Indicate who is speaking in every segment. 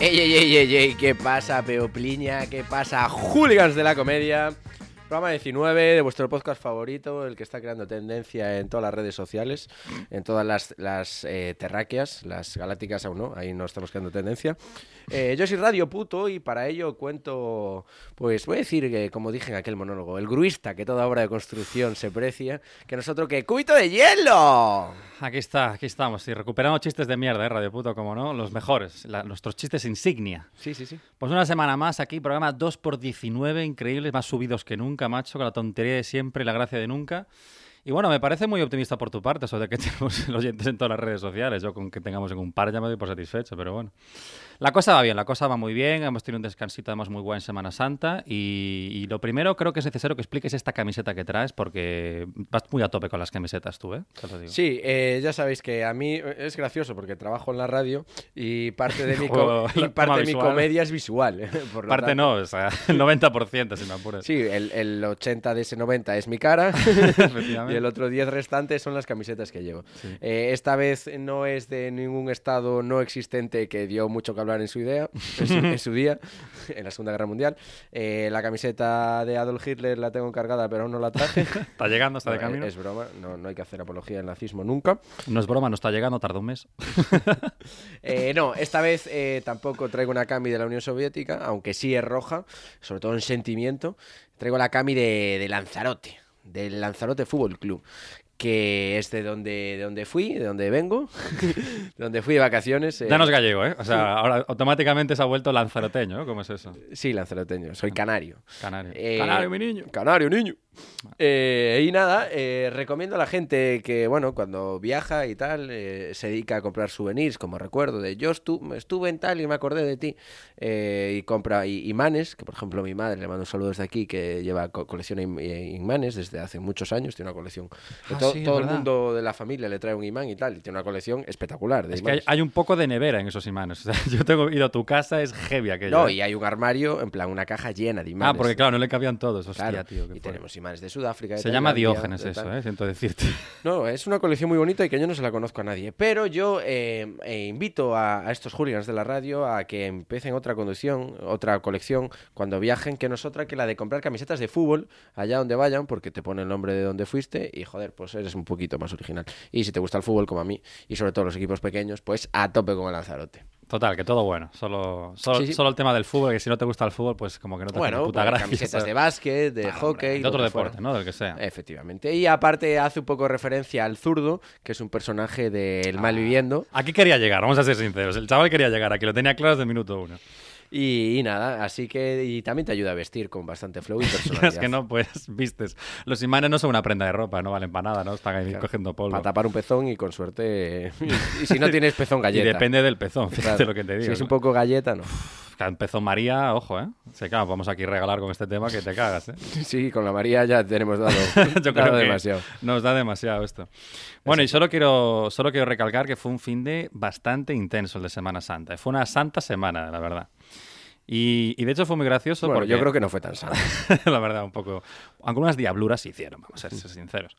Speaker 1: Ey, ey, ey, ey, ey, ¿qué pasa, Peopliña? ¿Qué pasa, Hooligans de la Comedia? Programa 19 de vuestro podcast favorito, el que está creando tendencia en todas las redes sociales, en todas las, las eh, terráqueas, las galácticas aún no, ahí no estamos creando tendencia. Eh, yo soy Radio Puto y para ello cuento, pues voy a decir, que, como dije en aquel monólogo, el gruista que toda obra de construcción se precia, que nosotros que ¡Cubito de hielo!
Speaker 2: Aquí está, aquí estamos. Y recuperamos chistes de mierda, ¿eh? Radio Puto, como no, los mejores, la- nuestros chistes insignia.
Speaker 1: Sí, sí, sí.
Speaker 2: Pues una semana más aquí, programa 2x19, increíbles, más subidos que nunca, macho, con la tontería de siempre y la gracia de nunca. Y bueno, me parece muy optimista por tu parte sobre que tenemos los oyentes en todas las redes sociales. Yo con que tengamos en un par ya me doy por satisfecho, pero bueno. La cosa va bien, la cosa va muy bien. Hemos tenido un descansito además muy guay en Semana Santa. Y, y lo primero creo que es necesario que expliques esta camiseta que traes porque vas muy a tope con las camisetas tú, ¿eh? Te lo digo.
Speaker 1: Sí, eh, ya sabéis que a mí eh, es gracioso porque trabajo en la radio y parte de mi, co-
Speaker 2: Joder,
Speaker 1: y
Speaker 2: la
Speaker 1: parte
Speaker 2: toma
Speaker 1: de mi
Speaker 2: visual.
Speaker 1: comedia es visual. eh, por lo
Speaker 2: Parte
Speaker 1: tanto.
Speaker 2: no, o sea, el 90% si me apuras.
Speaker 1: Sí, el, el 80 de ese 90 es mi cara
Speaker 2: Efectivamente.
Speaker 1: y el otro 10 restante son las camisetas que llevo.
Speaker 2: Sí.
Speaker 1: Eh, esta vez no es de ningún estado no existente que dio mucho que hablar en su idea, en su, en su día, en la Segunda Guerra Mundial. Eh, la camiseta de Adolf Hitler la tengo cargada, pero aún no la traje.
Speaker 2: Está llegando, está de
Speaker 1: No,
Speaker 2: camino.
Speaker 1: Es broma, no, no hay que hacer apología del nazismo nunca.
Speaker 2: No es broma, no está llegando, tarda un mes.
Speaker 1: Eh, no, esta vez eh, tampoco traigo una Kami de la Unión Soviética, aunque sí es roja, sobre todo en sentimiento. Traigo la Kami de, de Lanzarote, del Lanzarote Fútbol Club, que es de donde, de donde fui, de donde vengo, de donde fui de vacaciones. eh.
Speaker 2: Ya no es gallego, ¿eh? O sea, ahora automáticamente se ha vuelto lanzaroteño, ¿eh? ¿Cómo es eso?
Speaker 1: Sí, lanzaroteño, soy canario.
Speaker 2: Canario.
Speaker 1: Eh,
Speaker 2: Canario, mi niño.
Speaker 1: Canario, niño. Eh, y nada, eh, recomiendo a la gente que, bueno, cuando viaja y tal, eh, se dedica a comprar souvenirs, como recuerdo de yo estu- estuve en tal y me acordé de ti. Eh, y compra i- imanes, que por ejemplo mi madre, le mando saludos de aquí, que lleva co- colección de im- eh, imanes desde hace muchos años, tiene una colección. que
Speaker 2: Ah,
Speaker 1: to-
Speaker 2: sí, es
Speaker 1: todo el
Speaker 2: verdad.
Speaker 1: mundo de la familia le trae un imán y tal, y tiene una colección espectacular de
Speaker 2: Es que hay,
Speaker 1: imanes.
Speaker 2: hay un poco de nevera en esos imanes. O sea, yo tengo ido a tu casa, es heavy aquello.
Speaker 1: No,
Speaker 2: ¿eh?
Speaker 1: y hay un armario, en plan, una caja llena de
Speaker 2: Ah,
Speaker 1: imanes.
Speaker 2: porque claro, no le cabían todos. Hostia,
Speaker 1: Claro,
Speaker 2: tío. qué
Speaker 1: y
Speaker 2: fuerte.
Speaker 1: tenemos imanes de Sudáfrica. de
Speaker 2: Se llama
Speaker 1: Tailandia,
Speaker 2: Diógenes
Speaker 1: de
Speaker 2: eso,
Speaker 1: tal.
Speaker 2: ¿eh? Siento decirte.
Speaker 1: No, es una colección muy bonita y que yo no se la conozco a nadie. Pero yo eh, eh, invito a, a estos hooligans de la radio a que empiecen otra conducción, otra colección cuando viajen, que no es otra que la de comprar camisetas de fútbol allá donde vayan, porque te pone el nombre de donde fuiste y joder, pues eres un poquito más original. Y si te gusta el fútbol como a mí, y sobre todo los equipos pequeños, pues a tope con el Lanzarote.
Speaker 2: Total, que todo bueno. Solo, solo,
Speaker 1: Sí, sí.
Speaker 2: solo el tema del fútbol, que si no te gusta el fútbol, pues como que no te hace
Speaker 1: Bueno,
Speaker 2: ni puta
Speaker 1: pues,
Speaker 2: gracia.
Speaker 1: camisetas
Speaker 2: ¿sabes? Ah,
Speaker 1: de básquet, de hockey.
Speaker 2: de
Speaker 1: lo
Speaker 2: otro
Speaker 1: que fuera.
Speaker 2: deporte, ¿no? Del que sea.
Speaker 1: Efectivamente. Y aparte hace un poco referencia al zurdo, que es un personaje del
Speaker 2: Ah,
Speaker 1: mal viviendo.
Speaker 2: Aquí quería llegar, vamos a ser sinceros. El chaval quería llegar aquí, lo tenía claro desde el minuto uno.
Speaker 1: Y, y nada, así que y también te ayuda a vestir con bastante flow y
Speaker 2: Ya
Speaker 1: personalidad.
Speaker 2: es que no, pues, vistes. Los imanes no son una prenda de ropa, no valen para nada, ¿no? Están ahí cogiendo polvo.
Speaker 1: Para tapar un pezón y con suerte. eh, Y, si no tienes pezón
Speaker 2: y
Speaker 1: galleta.
Speaker 2: depende del pezón, fíjate
Speaker 1: Claro.
Speaker 2: lo que te digo.
Speaker 1: Si es un poco galleta, no.
Speaker 2: Cada pezón María, ojo, ¿eh? Se claro, vamos aquí a regalar con este tema que te cagas, ¿eh?
Speaker 1: Sí, con la María ya tenemos dado,
Speaker 2: Yo
Speaker 1: dado
Speaker 2: creo que
Speaker 1: demasiado.
Speaker 2: nos da demasiado esto. Bueno, y solo quiero, solo quiero recalcar que fue un fin de bastante intenso el de Semana Santa. Fue una santa semana, la verdad. Y, y de hecho fue muy gracioso
Speaker 1: Bueno,
Speaker 2: porque...
Speaker 1: yo creo que no fue tan sano.
Speaker 2: la verdad, un poco. Algunas diabluras se hicieron, vamos a ser sinceros.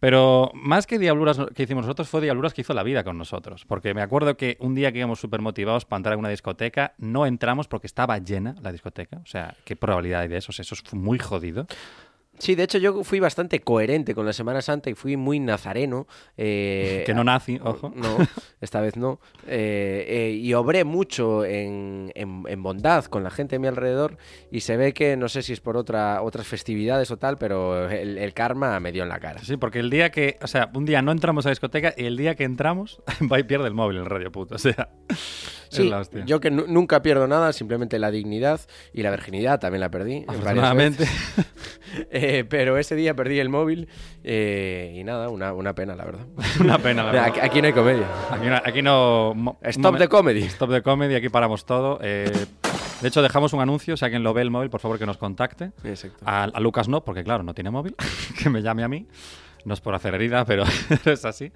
Speaker 2: Pero más que diabluras que hicimos nosotros, fue diabluras que hizo la vida con nosotros. Porque me acuerdo que un día que íbamos súper motivados para entrar en una discoteca, no entramos porque estaba llena la discoteca. O sea, ¿qué probabilidad hay de eso? O sea, eso es muy jodido.
Speaker 1: Sí, de hecho, yo fui bastante coherente con la Semana Santa y fui muy nazareno. eh,
Speaker 2: que no nazi, ojo.
Speaker 1: No, esta vez no. Eh, eh, y obré mucho en, en- en bondad con la gente de mi alrededor y se ve que, no sé si es por otra, otras festividades o tal, pero el, el karma me dio en la cara.
Speaker 2: Sí, porque el día que, o sea, un día no entramos a la discoteca y el día que entramos, va y pierde el móvil en Radio Puto. O sea, es
Speaker 1: Sí,
Speaker 2: la hostia.
Speaker 1: yo que nu- nunca pierdo nada, simplemente la dignidad y la virginidad también la perdí. varias
Speaker 2: Afortunadamente.
Speaker 1: veces. Eh, pero ese día perdí el móvil eh, y nada, una, una pena, la verdad.
Speaker 2: una pena, la verdad.
Speaker 1: Aquí, aquí no hay comedia.
Speaker 2: Aquí no. Aquí no mo-
Speaker 1: Stop
Speaker 2: momen-
Speaker 1: the comedy.
Speaker 2: Stop de comedy, aquí paramos todo. Eh, De hecho, dejamos un anuncio, si alguien lo ve el móvil, por favor que nos contacte.
Speaker 1: Exacto.
Speaker 2: A, a Lucas no, porque claro, no tiene móvil, que me llame a mí. No es por hacer herida, pero es así.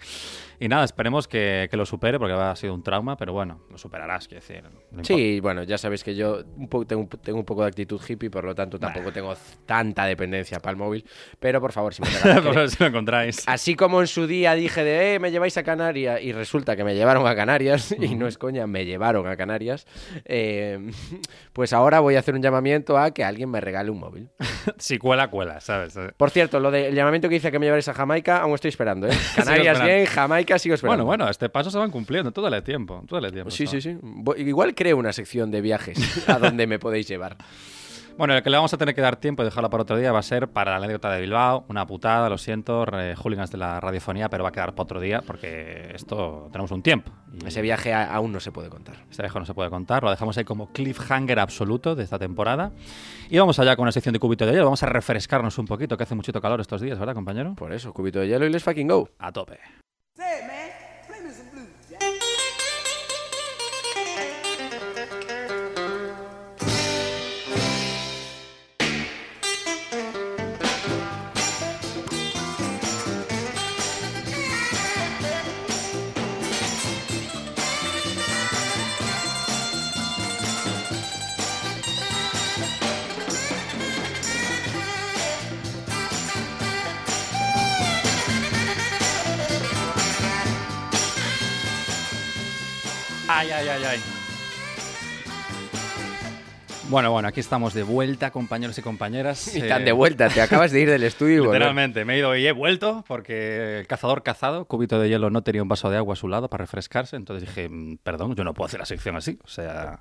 Speaker 2: Y nada, esperemos que, que lo supere, porque ha sido un trauma, pero bueno, lo superarás, quiero decir. no importa.
Speaker 1: Sí, bueno, ya sabéis que yo un po- tengo, un po- tengo un poco de actitud hippie, por lo tanto tampoco tengo c- tanta dependencia para el móvil. Pero por favor, si me regaláis-
Speaker 2: Pero si lo encontráis.
Speaker 1: Así como en su día dije de, eh, me lleváis a Canarias, y resulta que me llevaron a Canarias, y no es coña, me llevaron a Canarias, eh, pues ahora voy a hacer un llamamiento a que alguien me regale un móvil.
Speaker 2: Si cuela, cuela, ¿sabes? Eh,
Speaker 1: Por cierto, lo del llamamiento que hice que me llevaréis a Jamaica, aún estoy esperando, ¿eh? Canarias
Speaker 2: esperando.
Speaker 1: bien, Jamaica sigo
Speaker 2: Bueno,
Speaker 1: esperando.
Speaker 2: bueno, este paso se van cumpliendo, todo el tiempo. Todo el tiempo
Speaker 1: Sí,
Speaker 2: chaval.
Speaker 1: sí, sí. Voy- Igual creo una sección de viajes a donde me podéis llevar.
Speaker 2: Bueno, el que le vamos a tener que dar tiempo y dejarla para otro día va a ser para la anécdota de Bilbao. Una putada, lo siento, re- hooligans de la radiofonía, pero va a quedar para otro día porque esto tenemos un tiempo. Y
Speaker 1: Ese viaje a- aún no se puede contar.
Speaker 2: Este viejo no se puede contar, lo dejamos ahí como cliffhanger absoluto de esta temporada. Y vamos allá con una sección de cubito de hielo, vamos a refrescarnos un poquito, que hace muchito calor estos días, ¿verdad, compañero?
Speaker 1: Por eso, cubito de hielo y let's fucking go.
Speaker 2: A tope. Ay, ay, ay, ay. Bueno, bueno, aquí estamos de vuelta, compañeros y compañeras.
Speaker 1: Y
Speaker 2: Eh,
Speaker 1: tan de vuelta, te acabas de ir del estudio y volver.
Speaker 2: Literalmente, me he ido y he vuelto porque el cazador cazado, cubito de hielo, no tenía un vaso de agua a su lado para refrescarse. Entonces dije, "Mm, perdón, yo no puedo hacer la sección así. O sea,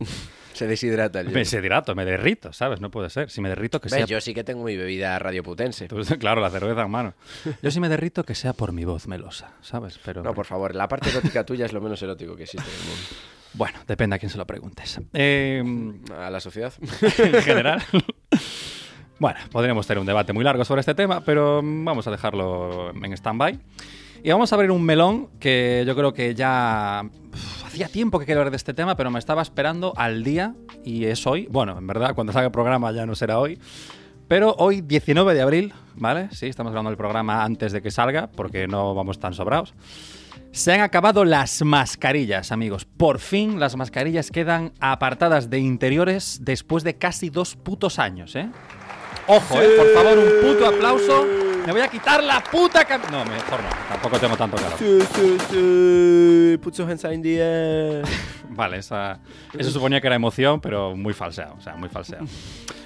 Speaker 1: Se deshidrata el
Speaker 2: me deshidrato, me derrito, ¿sabes? No puede ser. Si me derrito, que
Speaker 1: Ve,
Speaker 2: sea.
Speaker 1: yo sí que tengo mi bebida radioputense.
Speaker 2: Tú- claro, la cerveza en mano. Yo si me derrito, que sea por mi voz melosa, ¿sabes? Pero.
Speaker 1: No, por favor, la parte erótica tuya es lo menos erótico que existe en el mundo.
Speaker 2: Bueno, depende a quién se lo preguntes. Eh,
Speaker 1: A la sociedad.
Speaker 2: en general. Bueno, podríamos tener un debate muy largo sobre este tema, pero mm, vamos a dejarlo en stand-by. Y vamos a abrir un melón que yo creo que ya uf, hacía tiempo que quería hablar de este tema, pero me estaba esperando al día y es hoy. Bueno, en verdad, cuando salga el programa ya no será hoy. Pero hoy, 19 de abril, ¿vale? Sí, estamos grabando el programa antes de que salga, porque no vamos tan sobrados. Se han acabado las mascarillas, amigos. Por fin las mascarillas quedan apartadas de interiores después de casi dos putos años, ¿eh? Ojo, ¿eh? Por favor, un puto aplauso. Me voy a quitar la puta cam- No, mejor no. Tampoco tengo tanto calor.
Speaker 1: Put your hands in the air.
Speaker 2: Vale, esa, eso suponía que era emoción, pero muy falseado, o sea, muy falseado.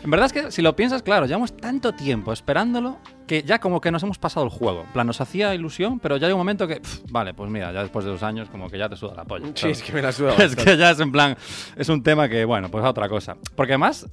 Speaker 2: En verdad es que si lo piensas, claro, llevamos tanto tiempo esperándolo que ya como que nos hemos pasado el juego. En plan, nos hacía ilusión, pero ya hay un momento que, pf, vale, pues mira, ya después de dos años como que ya te suda la polla.
Speaker 1: Sí, es que me la suda
Speaker 2: Es
Speaker 1: bastante.
Speaker 2: que ya es en plan, es un tema que, bueno, pues a otra cosa. Porque además,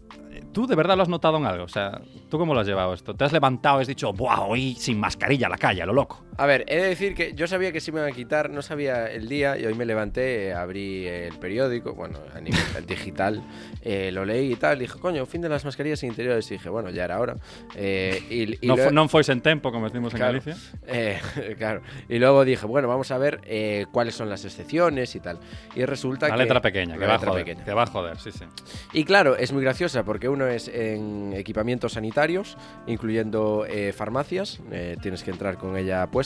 Speaker 2: tú de verdad lo has notado en algo, o sea, ¿tú cómo lo has llevado esto? ¿Te has levantado y has dicho, wow, hoy sin mascarilla a la calle, a lo loco?
Speaker 1: A ver, he de decir que yo sabía que se me iban a quitar, no sabía el día y hoy me levanté, eh, abrí el periódico, bueno, a nivel digital, eh, lo leí y tal, dije, coño, fin de las mascarillas interiores, y dije, bueno, ya era hora. Eh, y, y
Speaker 2: No,
Speaker 1: lo-
Speaker 2: fue no fuese en tempo, como decimos en
Speaker 1: Claro.
Speaker 2: Galicia.
Speaker 1: Eh, claro. Y luego dije, bueno, vamos a ver eh, cuáles son las excepciones y tal. Y resulta
Speaker 2: La
Speaker 1: que.
Speaker 2: letra pequeña, que
Speaker 1: La
Speaker 2: va a
Speaker 1: letra
Speaker 2: joder,
Speaker 1: pequeña.
Speaker 2: que va a joder, sí, sí.
Speaker 1: Y claro, es muy graciosa porque uno es en equipamientos sanitarios, incluyendo eh, farmacias. eh, tienes que entrar con ella puesta.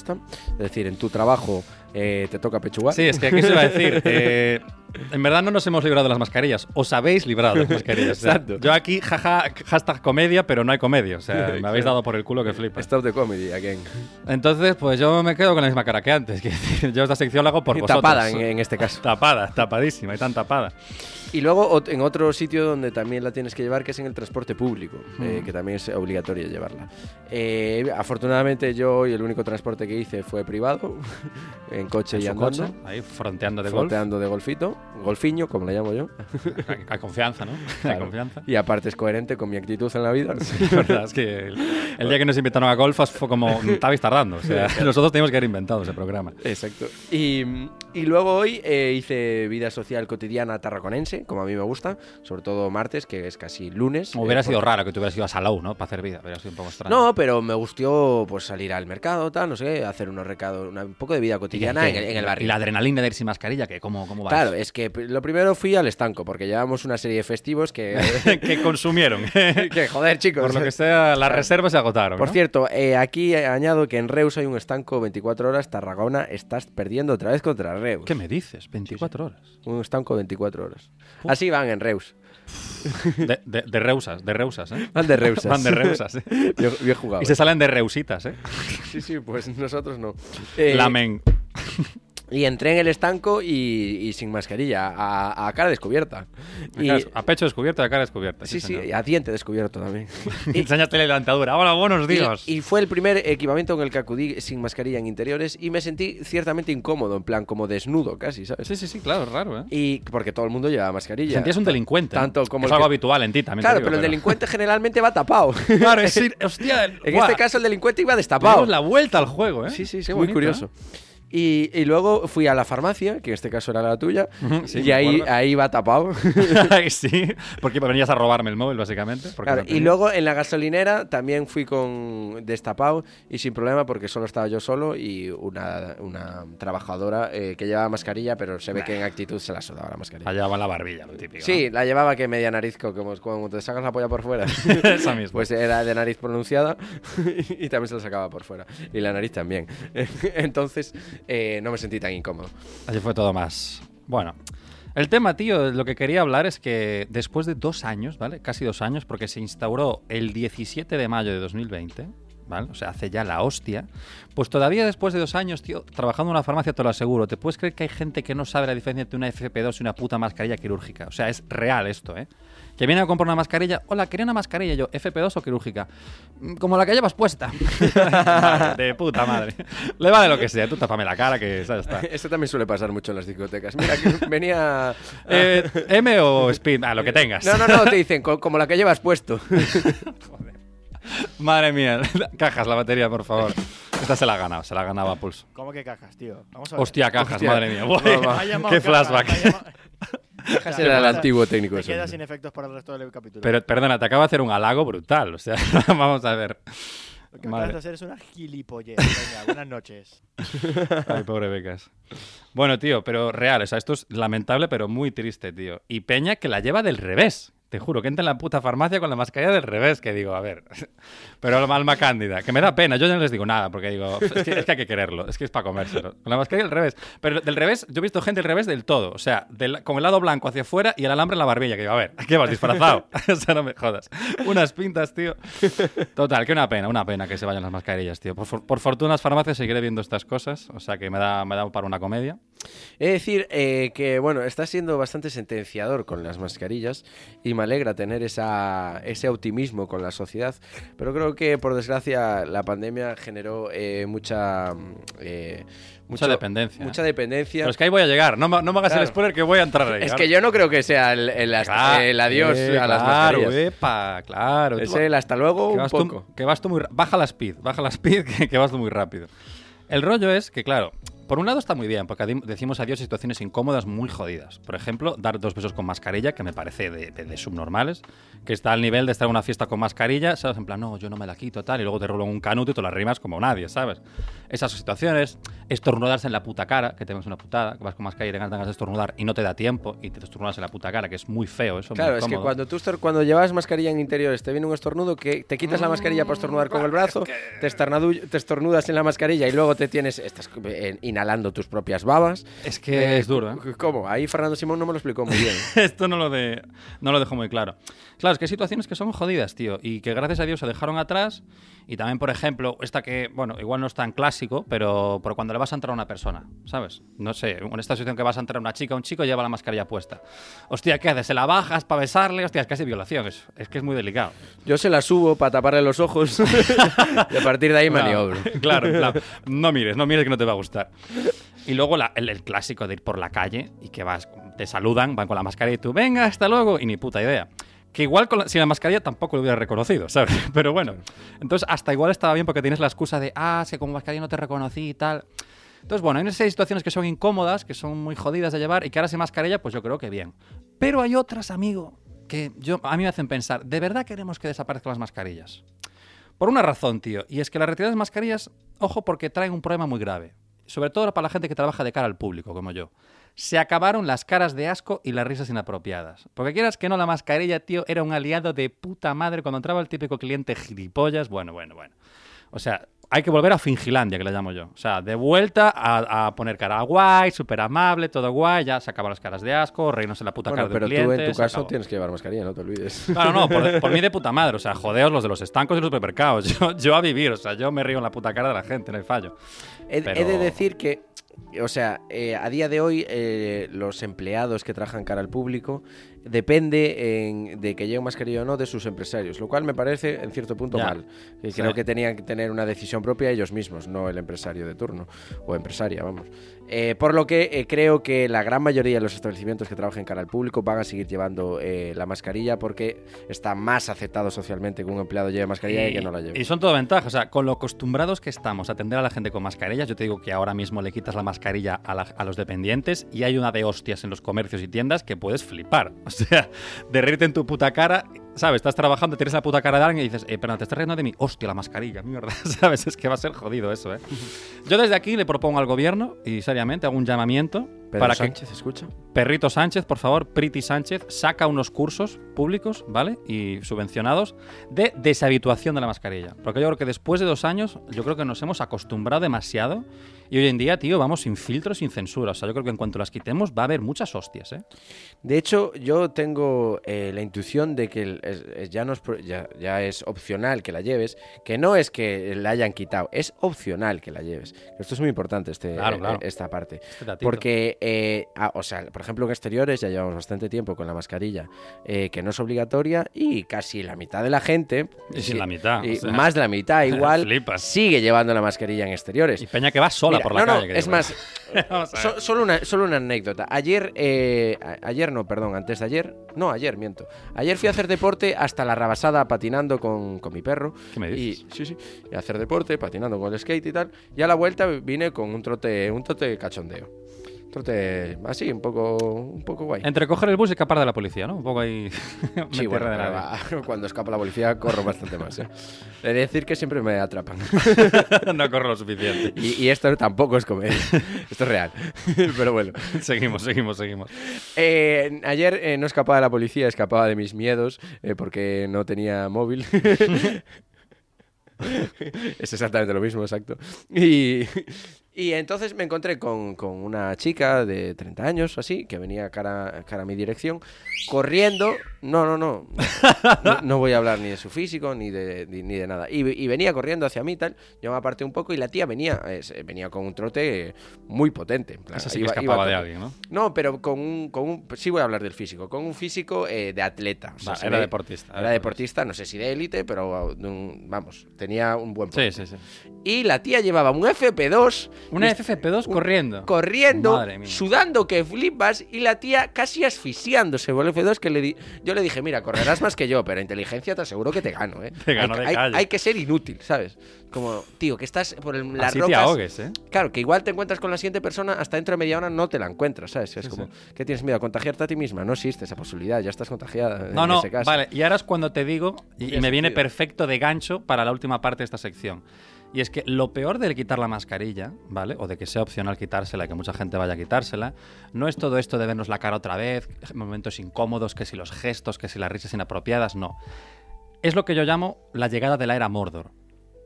Speaker 1: Es decir, en tu trabajo eh, te toca pechugar.
Speaker 2: Sí, es que aquí se iba a decir. eh, en verdad no nos hemos librado de las mascarillas. Os habéis librado de las mascarillas. O sea,
Speaker 1: Exacto.
Speaker 2: yo aquí, jaja, hashtag comedia, pero no hay comedia. O sea, me habéis dado por el culo que flipa.
Speaker 1: Stop the comedy again.
Speaker 2: Entonces, pues yo me quedo con la misma cara que antes. Que yo esta sección la hago por
Speaker 1: Y
Speaker 2: vosotros.
Speaker 1: tapada en, en este caso.
Speaker 2: Tapada, tapadísima y tan tapada.
Speaker 1: Y luego ot- en otro sitio donde también la tienes que llevar, que es en el transporte público,
Speaker 2: Mm.
Speaker 1: eh, que también es obligatorio llevarla. Eh, afortunadamente yo hoy el único transporte que hice fue privado, en coche
Speaker 2: En
Speaker 1: y
Speaker 2: su
Speaker 1: andando,
Speaker 2: coche, ahí fronteando de golf.
Speaker 1: floteando de golfito, golfiño, como le llamo yo.
Speaker 2: Hay, hay confianza, ¿no? Hay
Speaker 1: Claro.
Speaker 2: confianza.
Speaker 1: Y aparte es coherente con mi actitud en la vida.
Speaker 2: La verdad es que el, el día que nos invitaron a golf fue como, "Mm, estabais tardando. O sea, nosotros teníamos que haber inventado ese programa.
Speaker 1: Exacto. Y, y luego hoy eh, hice vida social cotidiana tarraconense, como a mí me gusta, sobre todo martes, que es casi lunes. eh,
Speaker 2: Hubiera sido
Speaker 1: porque-
Speaker 2: raro que tú hubieras ido a Salou, ¿no? Para hacer vida. Hubiera sido un poco extraño.
Speaker 1: No, pero me gustó pues salir al mercado, tal, no sé, hacer unos recados, una- un poco de vida
Speaker 2: Y que-
Speaker 1: cotidiana en
Speaker 2: que-
Speaker 1: el, en el
Speaker 2: Y
Speaker 1: barrio.
Speaker 2: la adrenalina de ir sin mascarilla, que cómo, cómo vas.
Speaker 1: Claro, es que pr- lo primero fui al estanco, porque llevamos una serie de festivos que.
Speaker 2: que consumieron.
Speaker 1: eh. que joder, chicos.
Speaker 2: Por lo que sea, las reservas se agotaron.
Speaker 1: Por
Speaker 2: ¿no?
Speaker 1: cierto, eh, aquí añado que en Reus hay un estanco 24 horas, Tarragona, estás perdiendo otra vez contra Reus.
Speaker 2: ¿Qué me dices? 24 horas.
Speaker 1: Un estanco 24 horas. Así van en Reus.
Speaker 2: De, de- de reusas, de reusas, ¿eh?
Speaker 1: Van de Reusas.
Speaker 2: Van de reusas. ¿eh?
Speaker 1: Bien, bien jugado.
Speaker 2: Y se salen de reusitas, ¿eh?
Speaker 1: Sí, sí, pues nosotros no. Eh,
Speaker 2: Lamen.
Speaker 1: Y entré en el estanco y, y sin mascarilla, a, a cara descubierta. Y-
Speaker 2: A pecho descubierto y a cara descubierta.
Speaker 1: sí, sí,
Speaker 2: señor.
Speaker 1: a diente descubierto también.
Speaker 2: Enséñate la levantadura. Hola, buenos días.
Speaker 1: Y, y fue el primer equipamiento en el que acudí sin mascarilla en interiores y me sentí ciertamente incómodo, en plan como desnudo casi, ¿sabes?
Speaker 2: Sí, sí, sí, claro, es raro, ¿eh?
Speaker 1: Y porque todo el mundo lleva mascarilla.
Speaker 2: Sentías un
Speaker 1: Ta-
Speaker 2: delincuente. ¿no?
Speaker 1: Tanto como
Speaker 2: es
Speaker 1: el que-
Speaker 2: algo habitual en ti también. te
Speaker 1: Claro,
Speaker 2: digo,
Speaker 1: pero el delincuente generalmente va tapado.
Speaker 2: Claro, es ir- Hostia, el-
Speaker 1: En
Speaker 2: guau,
Speaker 1: este caso el delincuente iba
Speaker 2: le damos
Speaker 1: destapado.
Speaker 2: la vuelta al juego, ¿eh?
Speaker 1: Sí, sí,
Speaker 2: Qué
Speaker 1: es muy
Speaker 2: bonito,
Speaker 1: curioso.
Speaker 2: ¿eh?
Speaker 1: Y, y luego fui a la farmacia, que en este caso era la tuya,
Speaker 2: Ujú, sí,
Speaker 1: y
Speaker 2: me
Speaker 1: ahí,
Speaker 2: acuerdo.
Speaker 1: ahí va tapado.
Speaker 2: Ay, sí, porque venías a robarme el móvil, básicamente. porque
Speaker 1: Claro,
Speaker 2: no
Speaker 1: y
Speaker 2: tenía.
Speaker 1: luego en la gasolinera también fui con destapado y sin problema porque solo estaba yo solo y una, una trabajadora eh, que llevaba mascarilla, pero se ve que en actitud se la sudaba la mascarilla.
Speaker 2: Allá va la barbilla, lo típico.
Speaker 1: Sí, la llevaba que media nariz, co- como cuando te sacas la polla por fuera.
Speaker 2: ¿no? Esa misma.
Speaker 1: Pues era de nariz pronunciada y también se la sacaba por fuera. Y la nariz también. Entonces eh, no me sentí tan incómodo.
Speaker 2: Allí fue todo más. Bueno. El tema, tío, lo que quería hablar es que después de dos años, ¿vale? Casi dos años, porque se instauró el 17 de mayo de 2020, ¿vale? O sea, hace ya la hostia. Pues todavía después de dos años, tío, trabajando en una farmacia, te lo aseguro, ¿te puedes creer que hay gente que no sabe la diferencia entre una FP2 y una puta mascarilla quirúrgica? O sea, es real esto, ¿eh? Que viene a comprar una mascarilla. Hola, quería una mascarilla. Yo, ¿FP2 o quirúrgica? "Mm, Como la que llevas puesta. Madre de puta madre. Le vale lo que sea. Tú tapame la cara que ya está.
Speaker 1: Esto también suele pasar mucho en las discotecas. Mira, que venía...
Speaker 2: Eh, M o Speed, a lo que tengas.
Speaker 1: No, no, no, te dicen, co- como la que llevas puesto.
Speaker 2: Madre mía, cajas la batería, por favor. Esta se la ha ganado, se la ganaba Pulso.
Speaker 3: ¿Cómo que cajas, tío? Vamos a ver.
Speaker 2: Hostia, cajas,
Speaker 1: Hostia.
Speaker 2: madre mía. Buah,
Speaker 1: Mamá.
Speaker 3: Ha llamado
Speaker 2: qué
Speaker 3: cajas,
Speaker 2: flashback.
Speaker 3: ha llamado- Cajas,
Speaker 1: era el
Speaker 3: te queda-
Speaker 1: antiguo técnico
Speaker 3: Te
Speaker 1: ese,
Speaker 3: quedas
Speaker 1: hombre.
Speaker 3: sin efectos para el resto del capítulo.
Speaker 2: Pero perdona, te acaba de hacer un halago brutal. O sea, vamos a ver.
Speaker 3: Lo que
Speaker 2: madre.
Speaker 3: acabas de hacer es una gilipollez. Venga, buenas noches.
Speaker 2: Ay, pobre Becas. Bueno, tío, pero real, o sea, esto es lamentable, pero muy triste, tío. Y Peña que la lleva del revés. Te juro, que entra en la puta farmacia con la mascarilla del revés, que digo, a ver. Pero la alma cándida, que me da pena, yo ya no les digo nada, porque digo, es que, es que hay que quererlo, es que es para comérselo. Con la mascarilla del revés. Pero del revés, yo he visto gente del revés del todo, o sea, del- con el lado blanco hacia afuera y el alambre en la barbilla, que digo, a ver, ¿qué vas disfrazado? o sea, no me jodas. Unas pintas, tío. Total, que una pena, una pena que se vayan las mascarillas, tío. Por, for- por fortuna, las farmacias seguiré viendo estas cosas, o sea que me da, me da para una comedia.
Speaker 1: Es decir, eh, que bueno, está siendo bastante sentenciador con las mascarillas y me alegra tener esa, ese optimismo con la sociedad, pero creo que por desgracia la pandemia generó eh, mucha, mm, eh,
Speaker 2: Mucha dependencia,
Speaker 1: Mucha
Speaker 2: ¿eh?
Speaker 1: dependencia.
Speaker 2: Pero es que ahí voy a llegar, no, me- no me hagas el
Speaker 1: Claro.
Speaker 2: spoiler que voy a entrar ahí.
Speaker 1: Es que yo no creo que sea el, el hasta-
Speaker 2: Claro,
Speaker 1: el adiós
Speaker 2: eh,
Speaker 1: a las
Speaker 2: claro,
Speaker 1: mascarillas.
Speaker 2: epa, claro. Tú
Speaker 1: Es
Speaker 2: va-
Speaker 1: el hasta luego
Speaker 2: que
Speaker 1: un
Speaker 2: vas
Speaker 1: poco.
Speaker 2: Tú, que vas tú muy ra- baja la speed, baja la speed, que, que vas tú muy rápido. El rollo es que, claro, por un lado está muy bien, porque adim- decimos adiós a situaciones incómodas muy jodidas. Por ejemplo, dar dos besos con mascarilla, que me parece de, de- de subnormales, que está al nivel de estar en una fiesta con mascarilla, ¿sabes? En plan, no, yo no me la quito, tal, y luego te roban un canuto y te la rimas como nadie, ¿sabes? Esas situaciones, estornudarse en la puta cara, que tengas una putada, que vas con mascarilla y tengas ganas de estornudar y no te da tiempo y te estornudas en la puta cara, que es muy feo eso. muy
Speaker 1: Claro, es que
Speaker 2: incómodo.
Speaker 1: cuando tú estor- cuando llevas mascarilla en interiores te viene un estornudo que te quitas la mascarilla para estornudar con el brazo, te, estornadu- te estornudas en la mascarilla y luego te tienes estás eh, inhalando tus propias babas.
Speaker 2: Es que
Speaker 1: Eh,
Speaker 2: es duro, ¿eh?
Speaker 1: ¿Cómo? Ahí Fernando Simón no me lo explicó muy bien.
Speaker 2: Esto no lo, de, no lo dejó muy claro. Claro, es que hay situaciones que son jodidas, tío, y que gracias a Dios se dejaron atrás. Y también, por ejemplo, esta que, bueno, igual no es tan clásico, pero, pero cuando le vas a entrar a una persona, ¿sabes? No sé, en esta situación que vas a entrar a una chica, un chico lleva la mascarilla puesta. Hostia, ¿qué haces? ¿Se la bajas para besarle? Hostia, es casi violación, es, es que es muy delicado.
Speaker 1: Yo se la subo para taparle los ojos y a partir de ahí maniobro.
Speaker 2: Claro, en plan, no mires, no mires que no te va a gustar. Y luego la- el, el clásico de ir por la calle y que vas, te saludan, van con la mascarilla y tú, venga, hasta luego, y ni puta idea. Que igual con la- sin la mascarilla tampoco lo hubiera reconocido, ¿sabes? Pero bueno, entonces hasta igual estaba bien porque tienes la excusa de, ah, es que con mascarilla no te reconocí y tal. Entonces, bueno, hay unas situaciones que son incómodas, que son muy jodidas de llevar y que ahora sin mascarilla, pues yo creo que bien. Pero hay otras, amigo, que yo, a mí me hacen pensar, ¿de verdad queremos que desaparezcan las mascarillas? Por una razón, tío, y es que la retirada de mascarillas, ojo, porque traen un problema muy grave. Sobre todo para la gente que trabaja de cara al público, como yo. Se acabaron las caras de asco y las risas inapropiadas. Porque quieras que no, la mascarilla, tío, era un aliado de puta madre cuando entraba el típico cliente gilipollas. Bueno, bueno, bueno. O sea, hay que volver a Fingilandia, que le llamo yo. O sea, de vuelta a, a poner cara guay, súper amable, todo guay, ya se acaban las caras de asco, reírnos en la puta
Speaker 1: Bueno,
Speaker 2: cara
Speaker 1: pero
Speaker 2: del cliente.
Speaker 1: tú en tu
Speaker 2: se
Speaker 1: caso
Speaker 2: acabó.
Speaker 1: tienes que llevar mascarilla, no te olvides.
Speaker 2: Claro, no, por, por mí de puta madre. O sea, jodeos los de los estancos y los supermercados. Yo, yo a vivir, o sea, yo me río en la puta cara de la gente, no hay fallo.
Speaker 1: He, he de
Speaker 2: Pero-
Speaker 1: decir que, o sea, eh, a día de hoy eh, los empleados que trabajan cara al público depende en- de que llegue mascarilla o no de sus empresarios, lo cual me parece en cierto punto
Speaker 2: Ya.
Speaker 1: mal. Que
Speaker 2: Sí.
Speaker 1: Creo que tenían que tener una decisión propia ellos mismos, no el empresario de turno o empresaria, vamos. Eh, por lo que eh, creo que la gran mayoría de los establecimientos que trabajan cara al público van a seguir llevando eh, la mascarilla porque está más aceptado socialmente que un empleado lleve mascarilla y, que no la lleve.
Speaker 2: y son todo ventajas. O sea, con lo acostumbrados que estamos a atender a la gente con mascarillas, yo te digo que ahora mismo le quitas la mascarilla a, la- a los dependientes y hay una de hostias en los comercios y tiendas que puedes flipar. O sea, de reírte en tu puta cara, ¿sabes? Estás trabajando, tienes la puta cara de alguien y dices, eh, pero te estás riendo de mí. Hostia, la mascarilla, mierda. ¿Sabes? Es que va a ser jodido eso, ¿eh? Yo desde aquí le propongo al gobierno y seriamente hago un llamamiento
Speaker 1: Pedro
Speaker 2: para que
Speaker 1: Sánchez, escucha.
Speaker 2: Perrito Sánchez, por favor, Priti Sánchez, saca unos cursos públicos, ¿vale? Y subvencionados de deshabituación de la mascarilla. Porque yo creo que después de dos años, yo creo que nos hemos acostumbrado demasiado. Y hoy en día, tío, vamos sin filtro, sin censura. O sea, yo creo que en cuanto las quitemos va a haber muchas hostias, ¿eh?
Speaker 1: De hecho, yo tengo eh, la intuición de que el- es- es- ya, no es, pro- ya, ya es opcional que la lleves, que no es que la hayan quitado, es opcional que la lleves. Esto es muy importante, este,
Speaker 2: Claro, claro.
Speaker 1: esta parte.
Speaker 2: Este datito.
Speaker 1: Porque, eh, ah, o sea, por ejemplo, en exteriores ya llevamos bastante tiempo con la mascarilla, eh, que no es obligatoria, y casi la mitad de la gente,
Speaker 2: Y
Speaker 1: sí,
Speaker 2: sin la mitad,
Speaker 1: y
Speaker 2: o sea.
Speaker 1: más de la mitad igual,
Speaker 2: Flipas.
Speaker 1: sigue llevando la mascarilla en exteriores.
Speaker 2: Y Peña que va sola
Speaker 1: Mira,
Speaker 2: por la
Speaker 1: no, no,
Speaker 2: calle. que
Speaker 1: es
Speaker 2: digo,
Speaker 1: más,
Speaker 2: bueno. Vamos a ver.
Speaker 1: So- solo, una, solo una anécdota. Ayer, eh, a- ayer no, perdón, antes de ayer, no, ayer, miento. Ayer fui a hacer deporte hasta la rabasada patinando con, con mi perro.
Speaker 2: ¿Qué me dices?
Speaker 1: Y, sí, sí, y a hacer deporte, patinando con el skate y tal. Y a la vuelta vine con un trote, un trote cachondeo. Trote así, un poco, un poco guay.
Speaker 2: Entre coger el bus y escapar de la policía, ¿no? Un poco ahí.
Speaker 1: Sí,
Speaker 2: meterre
Speaker 1: bueno,
Speaker 2: de nadie.
Speaker 1: pero va, cuando escapa la policía corro bastante más. ¿eh? He de decir que siempre me atrapan.
Speaker 2: no corro lo suficiente.
Speaker 1: Y, y esto tampoco es comer. Esto es real. Pero bueno.
Speaker 2: seguimos, seguimos, seguimos.
Speaker 1: Eh, ayer eh, no escapaba de la policía, escapaba de mis miedos eh, porque no tenía móvil. es exactamente lo mismo, exacto. Y, y entonces me encontré con, con una chica de 30 años, así, que venía cara, cara a mi dirección, corriendo. No, no, no. No, no voy a hablar ni de su físico ni de, ni, ni de nada. Y, y venía corriendo hacia mí, tal. Yo me aparté un poco y la tía venía, eh, se- venía con un trote eh, muy potente. en plan,
Speaker 2: Esa sí que
Speaker 1: iba- iba
Speaker 2: escapaba de
Speaker 1: con-
Speaker 2: alguien, ¿no?
Speaker 1: no, pero con un, con un- Sí voy a hablar del físico. Con un físico eh, de atleta. O sea,
Speaker 2: Vale,
Speaker 1: se
Speaker 2: era
Speaker 1: ve-
Speaker 2: deportista,
Speaker 1: Era
Speaker 2: era
Speaker 1: deportista, no sé si de élite, pero de un- vamos, tenía un buen...
Speaker 2: Sí,
Speaker 1: porte.
Speaker 2: sí, sí.
Speaker 1: Y la tía llevaba un FP2...
Speaker 2: Una
Speaker 1: y-
Speaker 2: FFP2
Speaker 1: un-
Speaker 2: corriendo.
Speaker 1: Corriendo,
Speaker 2: Madre mía.
Speaker 1: sudando que flipas y la tía casi asfixiándose por el F2 que le di- yo le dije, mira, correrás más que yo, pero inteligencia te aseguro que te gano, ¿eh?
Speaker 2: Te gano
Speaker 1: hay,
Speaker 2: de
Speaker 1: hay-
Speaker 2: calle.
Speaker 1: hay que ser inútil, ¿sabes? Como, tío, que estás por el, las
Speaker 2: Así te
Speaker 1: rocas...
Speaker 2: ahogues, ¿eh?
Speaker 1: Claro, que igual te encuentras con la siguiente persona, hasta dentro de media hora no te la encuentras, ¿sabes? Es como, ¿qué tienes miedo? ¿A contagiarte a ti misma? No existe esa posibilidad, ya estás contagiada.
Speaker 2: No,
Speaker 1: en
Speaker 2: no,
Speaker 1: ese caso.
Speaker 2: vale. Y ahora es cuando te digo, y, y
Speaker 1: Tiene
Speaker 2: me viene
Speaker 1: sentido.
Speaker 2: perfecto de gancho para la última parte de esta sección. Y es que lo peor de quitar la mascarilla, ¿vale? O de que sea opcional quitársela, que mucha gente vaya a quitársela, no es todo esto de vernos la cara otra vez, momentos incómodos, que si los gestos, que si las risas inapropiadas, no. Es lo que yo llamo la llegada de la era Mordor.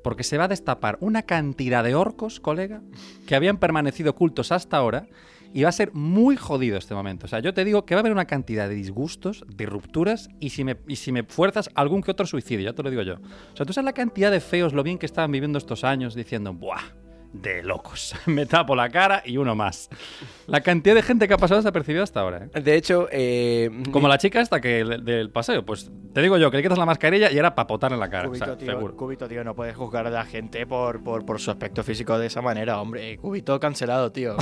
Speaker 2: Porque se va a destapar una cantidad de orcos, colega, que habían permanecido ocultos hasta ahora y va a ser muy jodido este momento. O sea, yo te digo que va a haber una cantidad de disgustos, de rupturas y si me, y si me fuerzas algún que otro suicidio, ya te lo digo yo. O sea, tú sabes la cantidad de feos, lo bien que estaban viviendo estos años diciendo, ¡buah! De locos. Me tapo la cara y uno más. La cantidad de gente que ha pasado desapercibida hasta ahora. ¿eh?
Speaker 1: De hecho, eh,
Speaker 2: Como la chica esta que del, del paseo, pues Te digo yo, que le quitas la mascarilla y era papotar en la cara. o
Speaker 3: Cubito,
Speaker 2: sea,
Speaker 3: tío,
Speaker 2: seguro.
Speaker 3: Cubito, tío, no puedes juzgar a la gente por, por, por su aspecto físico de esa manera, hombre. Eh, Cubito cancelado, tío.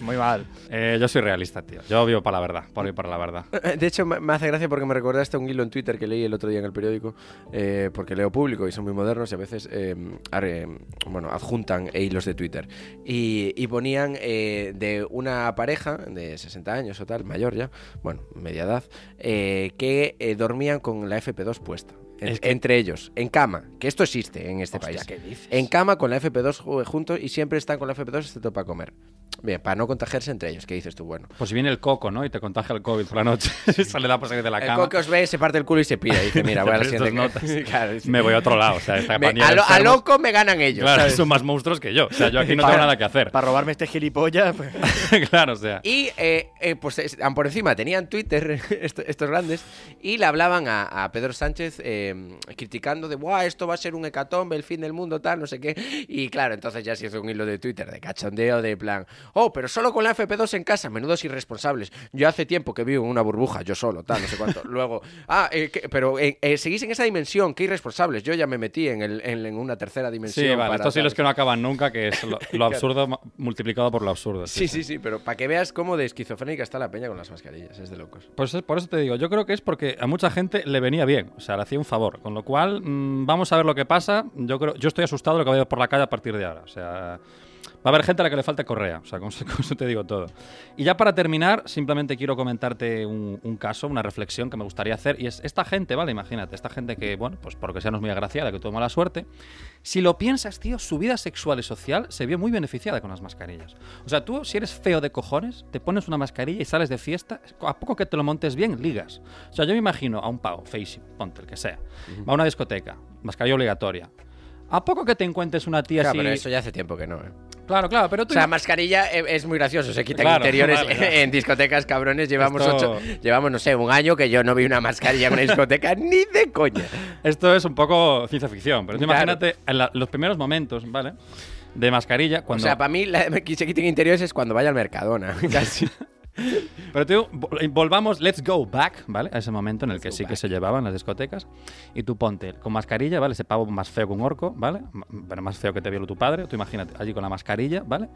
Speaker 3: Muy mal.
Speaker 2: Eh, yo soy realista, tío. Yo vivo para la verdad, por ir para la verdad.
Speaker 1: Eh, De hecho, me me hace gracia porque me recordaste a un hilo en Twitter que leí el otro día en el periódico, eh, porque leo público y son muy modernos y a veces eh, arre- bueno, adjuntan eh, hilos de Twitter. Y, y ponían eh, de una pareja de 60 años o tal, mayor ya, bueno, media edad, eh, que eh, dormían con la FP2 puesta. En-
Speaker 2: Es que-
Speaker 1: Entre ellos, en cama, que esto existe en este país. En cama con la FP2 ju- juntos y siempre están con la FP2 excepto para comer. Bien, para no contagiarse entre ellos, ¿qué dices tú? Bueno.
Speaker 2: Pues si viene el coco, ¿no? Y te contagia el COVID por la noche. Sale la por salir de la
Speaker 1: El
Speaker 2: cama.
Speaker 1: coque os ve, se parte el culo y se pira. Y dice, mira, voy a la
Speaker 2: Estas
Speaker 1: siguiente
Speaker 2: notas.
Speaker 1: Claro, dice,
Speaker 2: Me voy a otro lado. O sea, esta
Speaker 1: me-
Speaker 2: pandilla
Speaker 1: a,
Speaker 2: de
Speaker 1: lo- a
Speaker 2: enfermos,
Speaker 1: loco me ganan ellos.
Speaker 2: Claro,
Speaker 1: ¿sabes?
Speaker 2: son más monstruos que yo. O sea, yo aquí no tengo nada que hacer.
Speaker 3: Para robarme este gilipollas, pues,
Speaker 2: claro, o sea.
Speaker 1: Y eh, eh, pues están por encima, tenían Twitter esto- estos grandes y le hablaban a, a Pedro Sánchez eh, criticando de, ¡buah, esto va a ser un hecatombe, el fin del mundo, tal, no sé qué! Y claro, entonces ya se hizo un hilo de Twitter de cachondeo, de plan, ¡oh, pero solo con la FP2 en casa, menudos irresponsables! Yo hace tiempo que vivo en una burbuja, yo solo, tal, no sé cuánto. Luego, ¡ah, eh, que- pero eh, eh, seguís en esa dimensión, qué irresponsables! Yo ya me metí en, el- en- en una tercera dimensión.
Speaker 2: Sí, vale.
Speaker 1: para
Speaker 2: Estos
Speaker 1: tal".
Speaker 2: hilos que no acaban nunca, que es lo, lo absurdo ma- multiplicado por lo absurdo.
Speaker 1: Sí, sí, sí, pero para que veas cómo de esquizofrénica está la peña con las mascarillas, es de locos.
Speaker 2: Pues es- por eso te digo, yo creo que es porque a mucha gente le venía bien, o sea, le hacía un favor. Con lo cual, mm, vamos a ver lo que pasa. Yo creo, yo estoy asustado de lo que va a haber por la calle a partir de ahora. O sea, va a haber gente a la que le falte correa. O sea, con, eso- con eso te digo todo. Y ya para terminar, simplemente quiero comentarte un, un caso, una reflexión que me gustaría hacer. Y es esta gente, ¿vale? Imagínate, esta gente que, bueno, pues porque sea no es muy agraciada, que tuvo mala suerte. Si lo piensas, tío, su vida sexual y social se vio muy beneficiada con las mascarillas. O sea, tú, si eres feo de cojones, te pones una mascarilla y sales de fiesta, a poco que te lo montes bien, ligas. O sea, yo me imagino a un pavo, feísimo, ponte el que sea, va a una discoteca, mascarilla obligatoria. ¿A poco que te encuentres una tía
Speaker 1: Claro,
Speaker 2: así?
Speaker 1: pero eso ya hace tiempo que no. ¿eh?
Speaker 2: Claro, claro, pero
Speaker 1: O
Speaker 2: tú...
Speaker 1: sea, mascarilla eh, es muy gracioso. Se quitan
Speaker 2: Claro,
Speaker 1: interiores
Speaker 2: vale, vale.
Speaker 1: en discotecas, cabrones. Llevamos,
Speaker 2: Esto-
Speaker 1: ocho, llevamos, no sé, un año que yo no vi una mascarilla en una discoteca ni de coña.
Speaker 2: Esto es un poco ciencia ficción, pero tú
Speaker 1: Claro.
Speaker 2: imagínate en la- los primeros momentos, ¿vale? De mascarilla,
Speaker 1: O
Speaker 2: cuando...
Speaker 1: sea, para mí la- que se quiten interiores es cuando vaya al Mercadona. Casi.
Speaker 2: Pero tú, vol- volvamos, let's go back, ¿vale? A ese momento en el que
Speaker 1: go
Speaker 2: sí que
Speaker 1: back.
Speaker 2: se llevaban las discotecas. Y tú ponte con mascarilla, ¿vale? Ese pavo más feo que un orco, ¿vale? M- Pero más feo que te violó tu padre. Tú imagínate, allí con la mascarilla, ¿vale?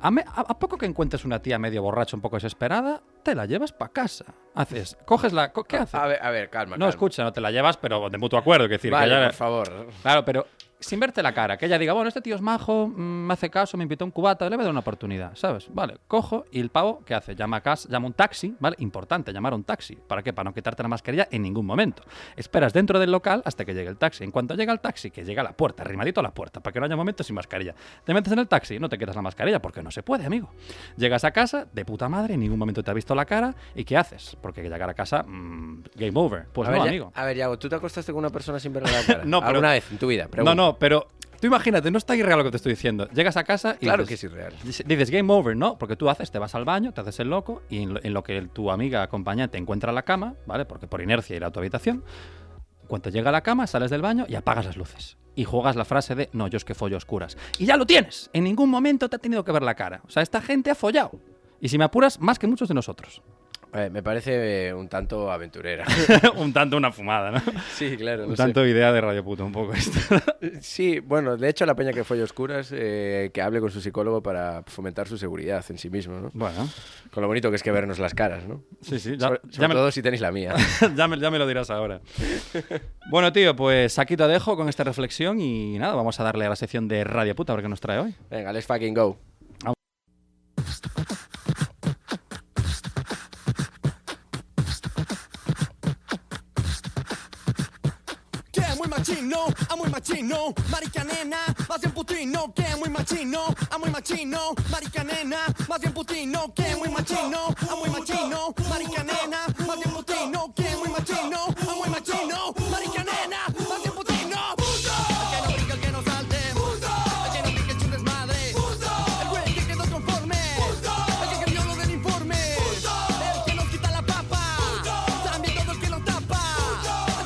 Speaker 2: A, me- a- a poco que encuentres una tía medio borracha, un poco desesperada, te la llevas para casa. Haces, coges la... co- ¿Qué haces?
Speaker 1: A ver, a ver, calma.
Speaker 2: no,
Speaker 1: calma.
Speaker 2: escucha, no te la llevas, pero de mutuo acuerdo, que decir,
Speaker 1: Vale,
Speaker 2: que ya-
Speaker 1: por favor.
Speaker 2: Claro, pero sin verte la cara, que ella diga, bueno, este tío es majo, mm, me hace caso, me invitó a un cubata, le voy a dar una oportunidad, ¿sabes? Vale, cojo y el pavo, ¿qué hace? Llama a casa, llama un taxi, ¿vale? Importante, llamar a un taxi. ¿Para qué? Para no quitarte la mascarilla en ningún momento. Esperas dentro del local hasta que llegue el taxi. En cuanto llega el taxi, que llega a la puerta, arrimadito a la puerta, para que no haya momentos sin mascarilla. Te metes en el taxi, no te quitas la mascarilla porque no se puede, amigo. Llegas a casa, de puta madre, en ningún momento te ha visto la cara, ¿y qué haces? Porque llegar a casa, mm, game over.
Speaker 1: a,
Speaker 2: Pues no,
Speaker 1: ver, ya-
Speaker 2: amigo.
Speaker 1: a ver, Yago, ¿tú te acostaste con una persona sin verle la cara?
Speaker 2: No, pero-
Speaker 1: ¿Alguna vez en tu vida? Pregunta.
Speaker 2: No, no, pero tú imagínate, no está irreal lo que te estoy diciendo. Llegas a casa y
Speaker 1: Claro que es
Speaker 2: dices,
Speaker 1: irreal.
Speaker 2: dices- dices game over, ¿no? Porque tú haces, te vas al baño, te haces el loco y en lo, en lo que tu amiga acompañante encuentra la cama, ¿vale? Porque por inercia irá a tu habitación. Cuando llega a la cama, sales del baño y apagas las luces. Y juegas la frase de, no, yo es que follo a oscuras. Y ya lo tienes. En ningún momento te ha tenido que ver la cara. O sea, esta gente ha follado. Y si me apuras, más que muchos de nosotros.
Speaker 1: Eh, me parece eh, un tanto aventurera.
Speaker 2: un tanto una fumada, ¿no?
Speaker 1: sí, claro.
Speaker 2: Un tanto idea de Radio Puto, un poco esto.
Speaker 1: Sí, bueno, de hecho la peña que fue oscuras eh, que hable con su psicólogo para fomentar su seguridad en sí mismo, ¿no?
Speaker 2: bueno,
Speaker 1: Con lo bonito que es que vernos las caras, ¿no?
Speaker 2: sí, sí. Ya,
Speaker 1: sobre
Speaker 2: ya
Speaker 1: sobre
Speaker 2: me-
Speaker 1: todo si tenéis la mía.
Speaker 2: ya, me, ya me lo dirás ahora. Bueno, tío, pues aquí te dejo con esta reflexión y nada, vamos a darle a la sección de Radio Puta a ver qué nos trae hoy.
Speaker 1: Venga, let's fucking go.
Speaker 4: Que muy machino, a muy machino, marica nena, más bien putino, que muy machino, a muy machino, marica nena, más bien putino, que muy machino, a muy machino, marica nena, más bien putino, que muy machino, a muy machino, marica nena, más bien putino. El que no pique, el que no salte, el que no pique, es un desmadre, el güey que quedó conforme, el que cambió lo del informe, el que nos quita la papa, también todo el que nos tapa,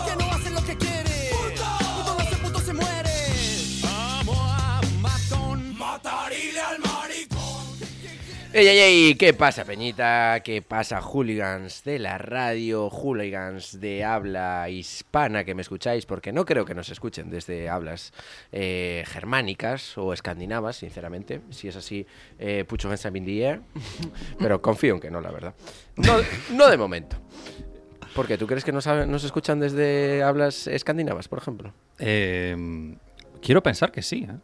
Speaker 4: el que no hace lo que quiere, puto no hace puto se muere. Vamos a matón, matarile al maricón.
Speaker 1: Ey, ey, ey, ¿qué pasa, Peñita? ¿Qué pasa, hooligans de la radio? Hooligans de habla hispana que me escucháis, porque no creo que nos escuchen desde hablas eh, germánicas o escandinavas, sinceramente. Si es así, eh, pucho Hansen in the air. Pero confío en que no, la verdad. No, no de momento. Porque tú crees que nos, ha- nos escuchan desde hablas escandinavas, por ejemplo.
Speaker 2: Eh, quiero pensar que sí, ¿eh?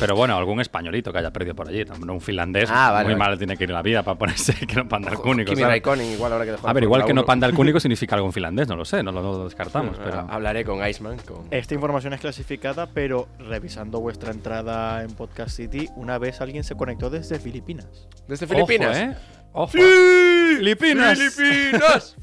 Speaker 2: Pero bueno, algún españolito que haya perdido por allí, no un finlandés,
Speaker 1: Ah, vale,
Speaker 2: muy
Speaker 1: vale.
Speaker 2: mal tiene que ir la vida para ponerse que no panda cúnico.
Speaker 1: Kimi
Speaker 2: ¿sabes?
Speaker 1: Raikkonen, igual ahora que dejó
Speaker 2: A
Speaker 1: la
Speaker 2: ver, igual que no
Speaker 1: Fórmula Ah,
Speaker 2: panda cúnico significa algún finlandés, no lo sé, no lo, no lo descartamos.
Speaker 1: 1.
Speaker 2: Pero... Eh,
Speaker 1: Hablaré con Iceman, con...
Speaker 3: Esta información es clasificada, pero revisando vuestra entrada en Podcast City, una vez alguien se conectó desde Filipinas.
Speaker 1: desde
Speaker 2: Ojo,
Speaker 1: Filipinas.
Speaker 2: ¿eh? Ojo.
Speaker 1: Filipinas.
Speaker 2: Filipinas.
Speaker 1: Filipinas.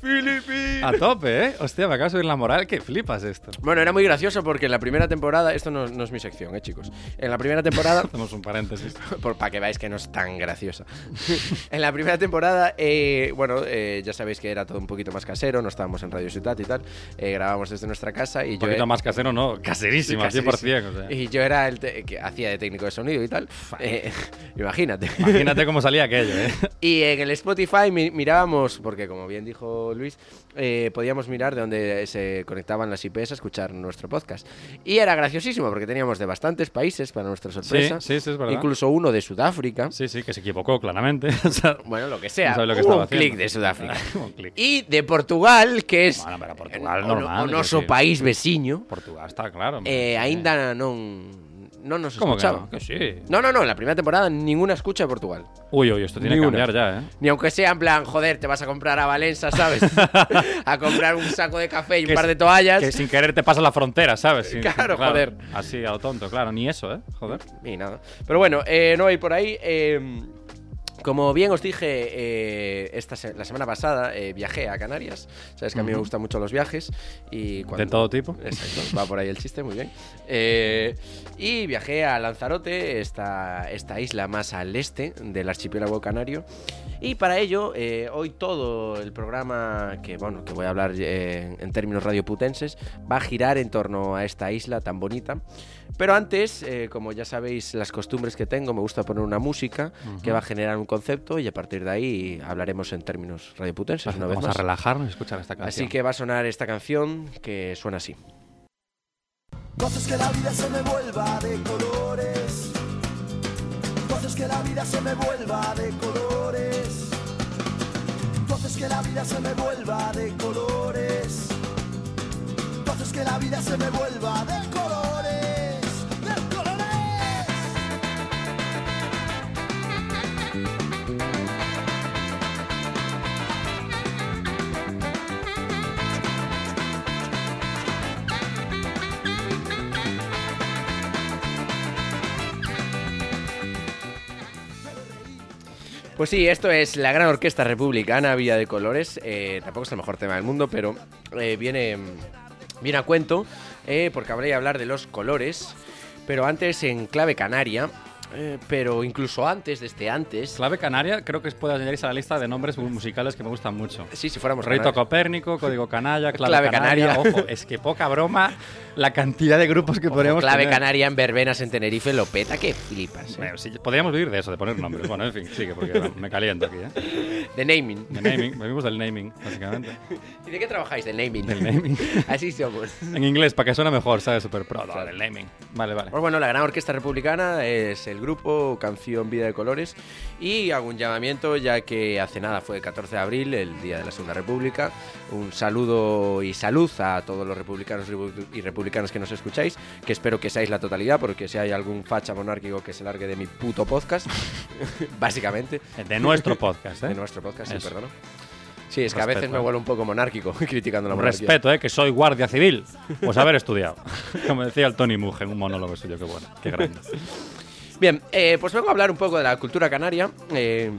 Speaker 1: Filipinas.
Speaker 2: A tope, ¿eh? Hostia, me acabas de subir la moral, que flipas esto.
Speaker 1: Bueno, era muy gracioso porque en la primera temporada, esto no, no es mi sección, eh, chicos. En la primera temporada,
Speaker 2: Hacemos un paréntesis.
Speaker 1: por para que veáis que no es tan graciosa. en la primera temporada, eh, bueno, eh, ya sabéis que era todo un poquito más casero, no estábamos en Radio Ciudad y tal, eh, grabábamos desde nuestra casa y
Speaker 2: Un
Speaker 1: yo
Speaker 2: poquito
Speaker 1: eh,
Speaker 2: más casero, no, caserísimo, al 100%. o sea.
Speaker 1: Y yo era el te- que hacía de técnico de sonido y tal. Eh, imagínate.
Speaker 2: Imagínate cómo salía aquello, ¿eh?
Speaker 1: Y en el Spotify mi- mirábamos, porque como bien dijo Luis, eh, podíamos mirar de dónde se conectaban las IPs a escuchar nuestro podcast. Y era graciosísimo, porque teníamos de bastantes países, para nuestra sorpresa.
Speaker 2: sí, sí, es verdad.
Speaker 1: Incluso uno de Sudáfrica.
Speaker 2: Sí, sí, que se equivocó claramente. o sea,
Speaker 1: Bueno, lo que sea.
Speaker 2: No sabe lo que
Speaker 1: hubo
Speaker 2: estaba
Speaker 1: un
Speaker 2: haciendo.
Speaker 1: clic de Sudáfrica.
Speaker 2: Un clic.
Speaker 1: Y de Portugal, que es
Speaker 2: Bueno, pero Portugal
Speaker 1: un-
Speaker 2: normal,
Speaker 1: un
Speaker 2: quiero
Speaker 1: oso
Speaker 2: decir.
Speaker 1: país veciño,
Speaker 2: Portugal está claro.
Speaker 1: eh, ainda no, no nos
Speaker 2: ¿Cómo que
Speaker 1: escuchaba.
Speaker 2: no? Que sí.
Speaker 1: No, no, no, en la primera temporada ninguna escucha de Portugal.
Speaker 2: Uy, uy, esto tiene
Speaker 1: Ni
Speaker 2: que
Speaker 1: una.
Speaker 2: cambiar ya, ¿eh?
Speaker 1: Ni aunque sea en plan, joder, te vas a comprar a Valenza, ¿sabes? a comprar un saco de café y un
Speaker 2: Que
Speaker 1: par
Speaker 2: es-
Speaker 1: de toallas.
Speaker 2: Que sin querer te pasa la frontera, ¿sabes? Sin-
Speaker 1: Claro, joder.
Speaker 2: Así a lo tonto, claro. Ni eso, ¿eh? Joder.
Speaker 1: Y nada. Pero bueno, eh, no, y por ahí. eh, como bien os dije eh, esta se- la semana pasada, eh, viajé a Canarias. Sabes que a mí me gustan mucho los viajes. Y cuando-
Speaker 2: De todo tipo.
Speaker 1: Exacto, va por ahí el chiste, muy bien. Eh, y viajé a Lanzarote, esta, esta isla más al este del archipiélago canario. Y para ello, eh, hoy todo el programa que, bueno, que voy a hablar eh, en términos radioputenses va a girar en torno a esta isla tan bonita. Pero antes, eh, como ya sabéis las costumbres que tengo, me gusta poner una música que va a generar un concepto y a partir de ahí hablaremos en términos radioputenses una vez
Speaker 2: Vamos a
Speaker 1: más.
Speaker 2: relajarnos y escuchar esta canción.
Speaker 1: Así que va a sonar esta canción que suena así.
Speaker 4: Entonces que la vida se me vuelva de colores. Entonces que la vida se me vuelva de colores. Entonces que la vida se me vuelva de colores. Entonces que la vida se me vuelva de colores. De colores.
Speaker 1: Pues sí, esto es la gran orquesta republicana Villa de Colores. Eh, tampoco es el mejor tema del mundo, pero eh, viene, viene a cuento eh, porque habría de hablar de los colores. Pero antes en clave canaria, eh, pero incluso antes, desde antes.
Speaker 2: Clave Canaria creo que puede añadirse a la lista de nombres mu- musicales que me gustan mucho.
Speaker 1: Sí, si fuéramos
Speaker 2: Rito
Speaker 1: canarios.
Speaker 2: Copérnico, Código Canalla, Clave,
Speaker 1: Pues Clave
Speaker 2: Canaria.
Speaker 1: Canaria.
Speaker 2: Ojo, es que poca broma la cantidad de grupos que
Speaker 1: Ojo,
Speaker 2: podríamos
Speaker 1: clave
Speaker 2: tener.
Speaker 1: canaria en verbenas en Tenerife, lo peta que flipas. eh.
Speaker 2: Bueno, sí, podríamos vivir de eso, de poner nombres. Bueno, en fin, sigue, porque bueno, me caliento aquí, ¿eh?
Speaker 1: De naming.
Speaker 2: De naming, vivimos del naming, básicamente.
Speaker 1: ¿Y de qué trabajáis? Del naming.
Speaker 2: Del naming.
Speaker 1: Así somos.
Speaker 2: En inglés, para que suene mejor, ¿sabes? Super pro, no, del naming. Vale, vale.
Speaker 1: Pues bueno, la Gran Orquesta Republicana es el grupo Canción Vida de Colores y hago un llamamiento ya que hace nada fue 14 de abril, el Día de la Segunda República. Un saludo y salud a todos los republicanos y republicanas que nos escucháis, que espero que seáis la totalidad porque si hay algún facha monárquico que se largue de mi puto podcast, básicamente,
Speaker 2: De nuestro podcast, ¿eh?
Speaker 1: de nuestro podcast, sí,
Speaker 2: Eso.
Speaker 1: perdona. Sí, es que a veces
Speaker 2: Respeto. ¿eh?
Speaker 1: me vuelvo un poco monárquico criticando la
Speaker 2: Un
Speaker 1: monarquía.
Speaker 2: respeto, ¿eh? Que soy guardia civil. Pues haber estudiado. Como decía el Tony Mugen, un monólogo suyo, qué bueno, qué grande.
Speaker 1: Bien, eh, pues vengo a hablar un poco de la cultura canaria. eh,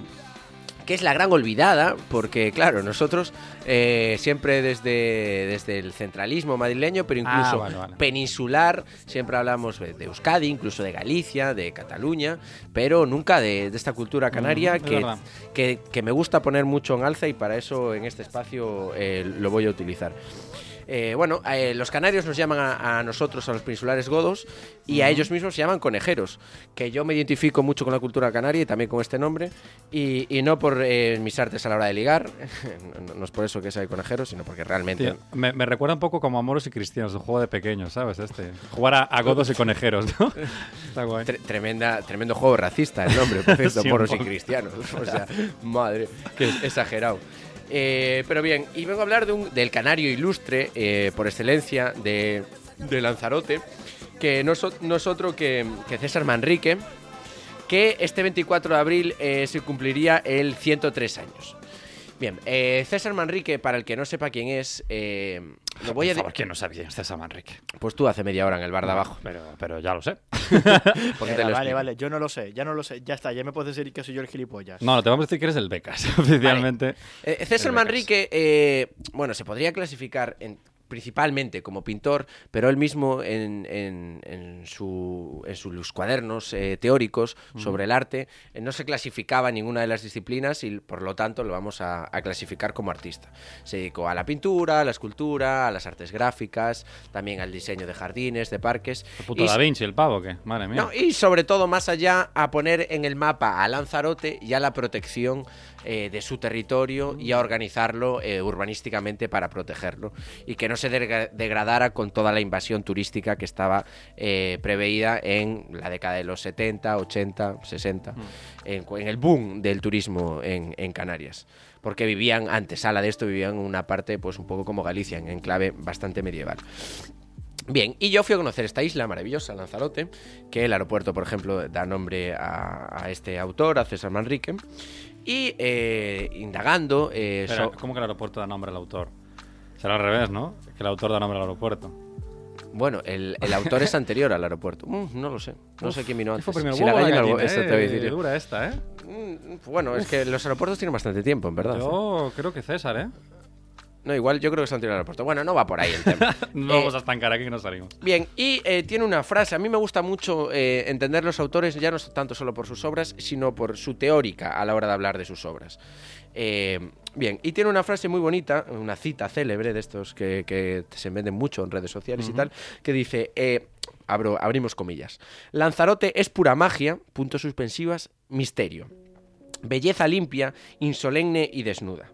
Speaker 1: que es la gran olvidada, porque claro, nosotros eh, siempre desde, desde el centralismo madrileño, pero
Speaker 2: Ah,
Speaker 1: incluso
Speaker 2: vale, vale.
Speaker 1: peninsular, siempre hablamos de de Euskadi, incluso de Galicia, de Cataluña, pero nunca de, de esta cultura canaria
Speaker 2: Mm, es
Speaker 1: que,
Speaker 2: verdad.
Speaker 1: que, que me gusta poner mucho en alza y para eso en este espacio eh, lo voy a utilizar. Eh, bueno, eh, los canarios nos llaman a, a nosotros, a los peninsulares godos, y a ellos mismos se llaman conejeros, que yo me identifico mucho con la cultura canaria y también con este nombre, y, y no por eh, mis artes a la hora de ligar, no, no- no es por eso que sea de conejero, sino porque realmente...
Speaker 2: Tío, me, me recuerda un poco como Amoros y Cristianos, el juego de pequeños, ¿sabes? Este. Jugar a, a godos y conejeros, ¿no? Está guay.
Speaker 1: Tre- tremenda, tremendo juego racista el nombre, por cierto,
Speaker 2: Sí, un
Speaker 1: moros y
Speaker 2: poco.
Speaker 1: cristianos. O sea, madre, que es exagerado. Eh, pero bien, y vengo a hablar de un- del canario ilustre, eh, por excelencia, de, de Lanzarote, que no es, o- no es otro que, que César Manrique, que este 24 de abril eh, se cumpliría el 103 años. Bien, eh, César Manrique, para el que no sepa quién es, eh, lo voy a...
Speaker 2: Por
Speaker 1: de-
Speaker 2: favor, ¿quién no sabe quién es César Manrique?
Speaker 1: Pues tú hace media hora en el bar de abajo.
Speaker 2: Pero, pero ya lo sé.
Speaker 1: porque te
Speaker 3: Venga,
Speaker 1: lo
Speaker 3: vale,
Speaker 1: explico.
Speaker 3: vale, yo no lo sé, ya no lo sé, ya está, ya me puedes decir que soy yo el gilipollas.
Speaker 2: No, no, te vamos a decir que eres el Becas, oficialmente.
Speaker 1: Eh, César
Speaker 2: El Becas.
Speaker 1: Manrique, eh, bueno, se podría clasificar en- principalmente como pintor, pero él mismo en, en- en su- en sus cuadernos eh, teóricos sobre el arte eh, no se clasificaba en ninguna de las disciplinas y por lo tanto lo vamos a, a clasificar como artista. Se dedicó a la pintura, a la escultura, a las artes gráficas, también al diseño de jardines, de parques.
Speaker 2: El puto
Speaker 1: y-
Speaker 2: Da Vinci, el pavo, ¿qué? Madre mía.
Speaker 1: no, y sobre todo más allá a poner en el mapa a Lanzarote y a la protección eh, de su territorio y a organizarlo eh, urbanísticamente para protegerlo y que no se degra- degradara con toda la invasión turística que estaba eh, preveída en la década de los 70, 80, 60, en, cu- en el boom del turismo en, en Canarias. Porque vivían, antesala de esto, vivían en una parte pues un poco como Galicia, en enclave bastante medieval. Bien, y yo fui a conocer esta isla maravillosa, Lanzarote, que el aeropuerto, por ejemplo, da nombre a, a este autor, a César Manrique, y eh, indagando... eh,
Speaker 2: Espera,
Speaker 1: so-
Speaker 2: ¿Cómo que el aeropuerto da nombre al autor? Será al revés, ¿no? Que el autor da nombre al aeropuerto.
Speaker 1: bueno, el, el autor es anterior al aeropuerto. Mm, no lo sé, no sé quién vino
Speaker 2: ¿Qué
Speaker 1: antes.
Speaker 2: fue primero?
Speaker 1: Si la
Speaker 2: huevo o
Speaker 1: gallina o el
Speaker 2: gallina,
Speaker 1: huevo, esto te voy a
Speaker 2: eh?
Speaker 1: decir yo.
Speaker 2: Dura esta, ¿eh?
Speaker 1: Mm, Bueno, es que los aeropuertos tienen bastante tiempo, en verdad.
Speaker 2: Yo creo que César, ¿eh?
Speaker 1: No, igual yo creo que es anterior al aeropuerto. Bueno, no va por ahí el tema.
Speaker 2: No
Speaker 1: Eh,
Speaker 2: vamos a estancar aquí que no salimos.
Speaker 1: Bien, y eh, tiene una frase, a mí me gusta mucho eh, entender los autores ya no tanto solo por sus obras, sino por su teórica a la hora de hablar de sus obras. Eh, bien, y tiene una frase muy bonita, una cita célebre de estos que, que se venden mucho en redes sociales y tal, que dice, eh, abro- abrimos comillas, Lanzarote es pura magia, puntos suspensivas, misterio, belleza limpia, insolemne y desnuda.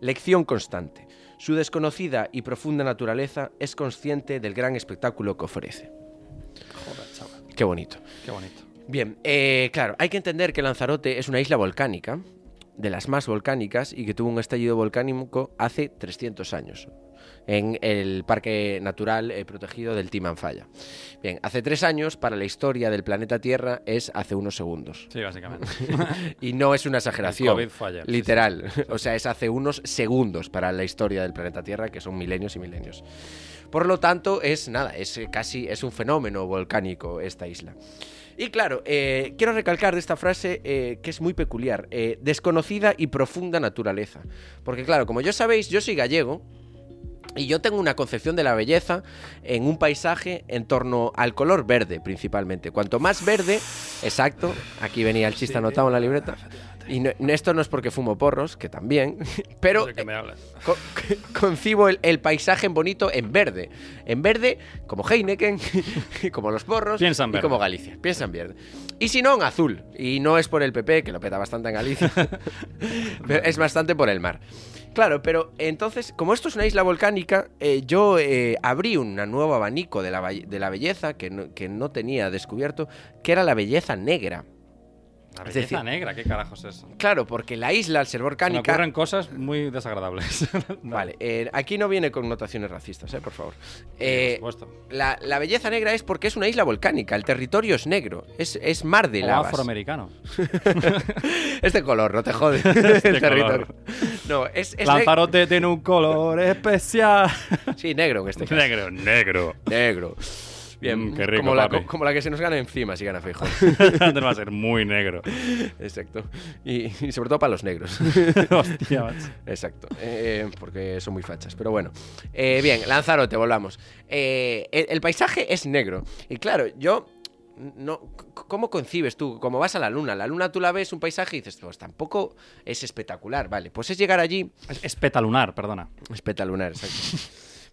Speaker 1: Lección constante. Su desconocida y profunda naturaleza es consciente del gran espectáculo que ofrece.
Speaker 2: Joder, chaval.
Speaker 1: Qué bonito.
Speaker 2: Qué bonito.
Speaker 1: Bien, eh, claro, hay que entender que Lanzarote es una isla volcánica, de las más volcánicas, y que tuvo un estallido volcánico hace 300 años, en el Parque Natural eh, Protegido del Timanfaya. Bien, hace tres años, para la historia del planeta Tierra, es hace unos segundos.
Speaker 2: Sí, básicamente.
Speaker 1: Y no es una exageración.
Speaker 2: El COVID fue ayer, sí,
Speaker 1: literal. O sea, es hace unos segundos para la historia del planeta Tierra, que son milenios y milenios. Por lo tanto, es nada, es eh, casi es un fenómeno volcánico esta isla. Y claro, eh, quiero recalcar de esta frase eh, que es muy peculiar, eh, desconocida y profunda naturaleza. Porque claro, como ya sabéis, yo soy gallego, y yo tengo una concepción de la belleza en un paisaje en torno al color verde principalmente. Cuanto más verde, exacto, aquí venía el chiste anotado en la libreta. Y no- no- esto no es porque fumo porros, que también, pero eh,
Speaker 2: No sé qué me hablas.
Speaker 1: co- concibo el, el paisaje bonito en verde. En verde, como Heineken, como los porros
Speaker 2: Piensa en
Speaker 1: y
Speaker 2: verde.
Speaker 1: como Galicia. Piensa en verde. Y si no, en azul. Y no es por el PP, que lo peta bastante en Galicia. pero es bastante por el mar. Claro, pero entonces, como esto es una isla volcánica, eh, yo eh, abrí un nuevo abanico de la, valle- de la belleza que no, que no tenía descubierto, que era la belleza negra.
Speaker 2: La
Speaker 1: Es
Speaker 2: belleza
Speaker 1: decir-
Speaker 2: negra, ¿qué carajos es eso?
Speaker 1: Claro, porque la isla, al ser
Speaker 2: Me
Speaker 1: volcánica,
Speaker 2: ocurren cosas muy desagradables.
Speaker 1: Vale, eh, aquí no viene connotaciones racistas, eh, por favor.
Speaker 2: Eh,
Speaker 1: Eh,
Speaker 2: por supuesto.
Speaker 1: la, la belleza negra es porque es una isla volcánica, el territorio es negro, es, es mar de
Speaker 2: O
Speaker 1: lavas.
Speaker 2: afroamericano.
Speaker 1: Es de color, no te jodes. el
Speaker 2: de
Speaker 1: territorio.
Speaker 2: color.
Speaker 1: No, es, es neg-
Speaker 2: Lanzarote tiene un color especial.
Speaker 1: Sí, negro en este caso.
Speaker 2: negro, negro.
Speaker 1: Negro. Bien,
Speaker 2: Mm, qué rico,
Speaker 1: como, la,
Speaker 2: papi.
Speaker 1: como la que se nos gana encima si gana Feijóo.
Speaker 2: Antes va a ser muy negro.
Speaker 1: Exacto. Y, y sobre todo para los negros.
Speaker 2: Hostia, macho.
Speaker 1: Exacto, eh, porque son muy fachas, pero bueno. Eh, bien, Lanzarote, volvamos. Eh, el, el paisaje es negro. Y claro, yo... No, c- ¿Cómo concibes tú? Como vas a la luna, la luna tú la ves un paisaje y dices, pues tampoco es espectacular, vale. Pues es llegar allí
Speaker 2: Es, es petalunar, perdona.
Speaker 1: Espectacular, exacto.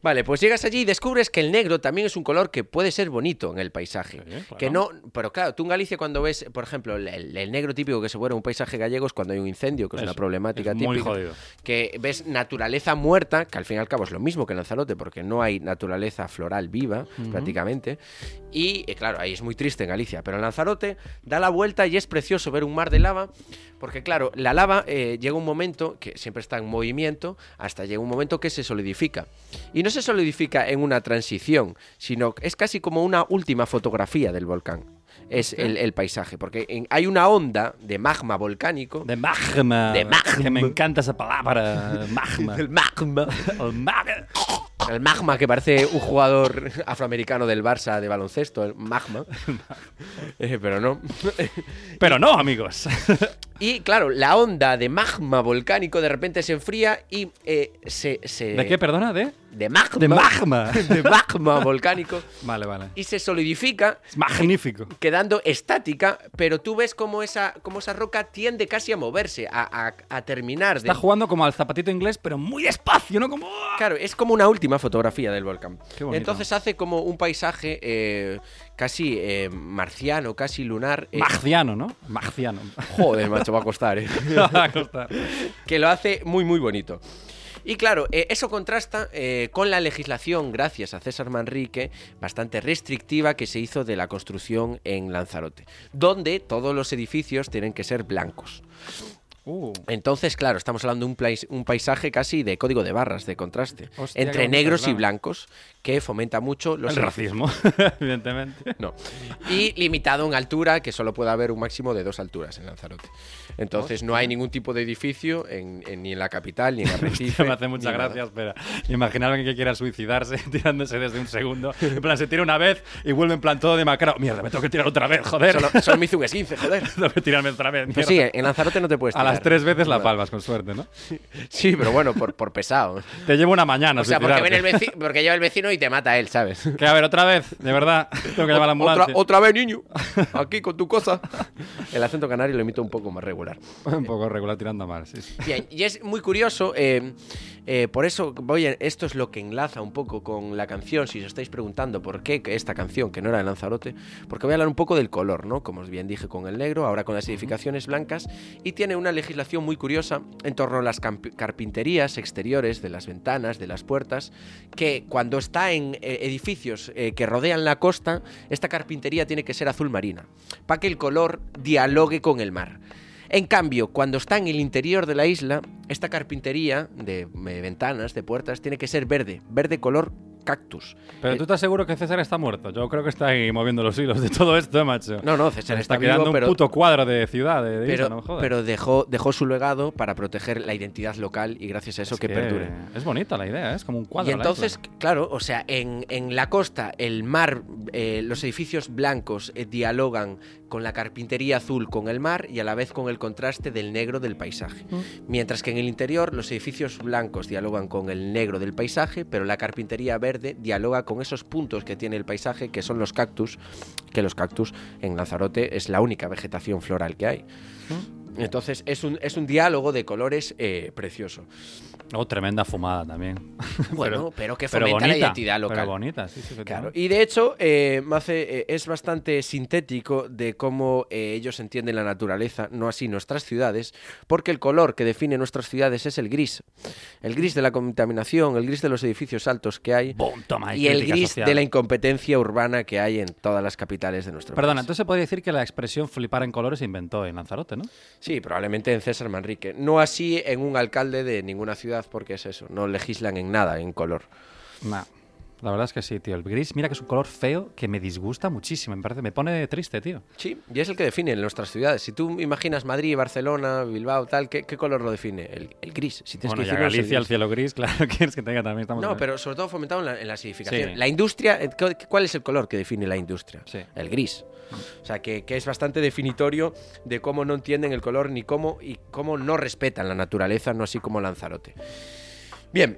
Speaker 1: Vale, pues llegas allí y descubres que el negro también es un color que puede ser bonito en el paisaje.
Speaker 2: Sí, claro.
Speaker 1: Que no, pero claro, tú en Galicia cuando ves, por ejemplo, el, el- el negro típico que se vuelve un paisaje gallego es cuando hay un incendio, que es,
Speaker 2: Es-
Speaker 1: una problemática
Speaker 2: es muy
Speaker 1: típica.
Speaker 2: jodido.
Speaker 1: Que ves naturaleza muerta, que al fin y al cabo es lo mismo que en Lanzarote, porque no hay naturaleza floral viva prácticamente. Y eh, claro, ahí es muy triste en Galicia, pero en Lanzarote da la vuelta y es precioso ver un mar de lava, porque claro, la lava eh, llega un momento que siempre está en movimiento, hasta llega un momento que se solidifica. Y no se solidifica en una transición, sino que es casi como una última fotografía del volcán. Es el, el paisaje, porque en- hay una onda de magma volcánico.
Speaker 2: De magma.
Speaker 1: De magma.
Speaker 2: Que me encanta esa palabra. Magma.
Speaker 1: El magma.
Speaker 2: El magma.
Speaker 1: El magma que parece un jugador afroamericano del Barça de baloncesto, el magma. Eh, pero no.
Speaker 2: Pero no, amigos.
Speaker 1: Y claro, la onda de magma volcánico de repente se enfría y eh, se, se-
Speaker 2: ¿De qué, perdona? ¿De?
Speaker 1: De magma.
Speaker 2: De magma.
Speaker 1: De magma volcánico.
Speaker 2: Vale, vale.
Speaker 1: Y se solidifica
Speaker 2: Es magnífico.
Speaker 1: quedando estática, pero tú ves cómo esa, cómo esa roca tiende casi a moverse, a, a- a terminar. de-
Speaker 2: Está jugando como al zapatito inglés, pero muy despacio, ¿no? Como.
Speaker 1: Claro, es como una última fotografía del volcán.
Speaker 2: Qué bonito.
Speaker 1: Entonces hace como un paisaje eh, casi eh, marciano, casi lunar. eh,
Speaker 2: Marciano, ¿no? Marciano.
Speaker 1: Joder, macho, va a costar, eh.
Speaker 2: Va a costar.
Speaker 1: que lo hace muy, muy bonito. Y claro, eh, eso contrasta eh, con la legislación, gracias a César Manrique, bastante restrictiva que se hizo de la construcción en Lanzarote, donde todos los edificios tienen que ser blancos.
Speaker 2: Uh,
Speaker 1: Entonces, claro, estamos hablando de un, plais- un paisaje casi de código de barras, de contraste,
Speaker 2: Hostia, qué
Speaker 1: entre
Speaker 2: bonito,
Speaker 1: negros y
Speaker 2: claro.
Speaker 1: blancos, que fomenta mucho los
Speaker 2: el
Speaker 1: edificios.
Speaker 2: racismo, evidentemente.
Speaker 1: No. Y limitado en altura, que solo puede haber un máximo de dos alturas en Lanzarote. Entonces no hay ningún tipo de edificio en- en- ni en la capital, ni en Arrecife.
Speaker 2: me hace
Speaker 1: ni
Speaker 2: muchas
Speaker 1: nada.
Speaker 2: gracias, pero imaginar que quiera suicidarse tirándose desde un segundo. En plan, se tira una vez y vuelve en plan todo demacrado. Mierda, me tengo que tirar otra vez, joder.
Speaker 1: Solo, solo me hice un esguince, joder.
Speaker 2: tengo que tirarme otra vez.
Speaker 1: Pues
Speaker 2: mierda.
Speaker 1: sí, en Lanzarote no te puedes
Speaker 2: A las
Speaker 1: tirar.
Speaker 2: tres veces la
Speaker 1: Bueno,
Speaker 2: palmas, con suerte, ¿no?
Speaker 1: Sí, pero bueno, por, por pesado.
Speaker 2: Te llevo una mañana.
Speaker 1: O sea, porque,
Speaker 2: suicidarte.
Speaker 1: viene el vecino, porque lleva el vecino y te mata él, ¿sabes?
Speaker 2: Que a ver, otra vez, de verdad. Tengo que llamar a la
Speaker 1: Otra,
Speaker 2: ambulancia.
Speaker 1: otra vez, niño. Aquí con tu cosa. El acento canario lo imito un poco más regular.
Speaker 2: Un poco regular tirando mal, sí. sí.
Speaker 1: Bien, y es muy curioso, eh, eh, por eso voy a- esto es lo que enlaza un poco con la canción, si os estáis preguntando por qué esta canción, que no era de Lanzarote, porque voy a hablar un poco del color, ¿no? Como os bien dije con el negro, ahora con las edificaciones blancas, y tiene una legislación muy curiosa en torno a las camp- carpinterías exteriores, de las ventanas, de las puertas, que cuando está en eh, edificios eh, que rodean la costa, esta carpintería tiene que ser azul marina, para que el color dialogue con el mar. En cambio, cuando está en el interior de la isla, esta carpintería de eh, ventanas, de puertas, tiene que ser verde, verde color cactus.
Speaker 2: Pero
Speaker 1: Eh,
Speaker 2: tú estás seguro que César está muerto. Yo creo que está ahí moviendo los hilos de todo esto, ¿eh, macho.
Speaker 1: No, no, César
Speaker 2: Se
Speaker 1: está,
Speaker 2: está
Speaker 1: vivo,
Speaker 2: quedando un
Speaker 1: pero,
Speaker 2: puto cuadro de ciudad, de, de isla,
Speaker 1: pero,
Speaker 2: no me jodas.
Speaker 1: pero dejó, dejó su legado para proteger la identidad local y gracias a eso
Speaker 2: Es
Speaker 1: que, perdure.
Speaker 2: Es bonita la idea, ¿eh? es como un cuadro.
Speaker 1: y
Speaker 2: la
Speaker 1: entonces,
Speaker 2: isla.
Speaker 1: claro, o sea, en, en la costa, el mar, eh, los edificios blancos eh, dialogan con la carpintería azul, con el mar y a la vez con el contraste del negro del paisaje. Mientras que en el interior, los edificios blancos dialogan con el negro del paisaje, pero la carpintería verde dialoga con esos puntos que tiene el paisaje, que son los cactus, que los cactus en Lanzarote es la única vegetación floral que hay. Entonces es un, es un diálogo de colores eh, precioso.
Speaker 2: Oh, tremenda fumada también.
Speaker 1: Bueno, pero que fomenta la identidad local.
Speaker 2: Pero bonita, sí, sí.
Speaker 1: Claro,
Speaker 2: efectivamente.
Speaker 1: y de hecho, eh, Mace eh, es bastante sintético de cómo eh, ellos entienden la naturaleza, no así nuestras ciudades, porque el color que define nuestras ciudades es el gris. El gris de la contaminación, el gris de los edificios altos que hay
Speaker 2: Boom, toma,
Speaker 1: y el
Speaker 2: crítica
Speaker 1: gris
Speaker 2: social.
Speaker 1: de la incompetencia urbana que hay en todas las capitales de nuestro
Speaker 2: Perdona,
Speaker 1: país.
Speaker 2: entonces se podría decir que la expresión flipar en colores se inventó en Lanzarote, ¿no?
Speaker 1: Sí, probablemente en César Manrique. No así en un alcalde de ninguna ciudad, porque es eso, no legislan en nada en color.
Speaker 2: Nah. La verdad es que sí, tío. El gris, mira que es un color feo que me disgusta muchísimo. Me parece, me pone triste, tío.
Speaker 1: Sí, y es el que define nuestras ciudades. Si tú imaginas Madrid, Barcelona, Bilbao, tal, ¿qué, qué color lo define? El, el gris. Si tienes
Speaker 2: bueno,
Speaker 1: que
Speaker 2: y a
Speaker 1: decirlo, es el
Speaker 2: Galicia, el
Speaker 1: gris.
Speaker 2: cielo gris, claro, quieres que tenga también. Estamos
Speaker 1: No,
Speaker 2: en-
Speaker 1: pero sobre todo fomentado en la, en la acidificación.
Speaker 2: Sí.
Speaker 1: La industria, eh, ¿cu- ¿cuál es el color que define la industria?
Speaker 2: Sí.
Speaker 1: El gris. O sea, que, que es bastante definitorio de cómo no entienden el color ni cómo y cómo no respetan la naturaleza, no así como Lanzarote. Bien,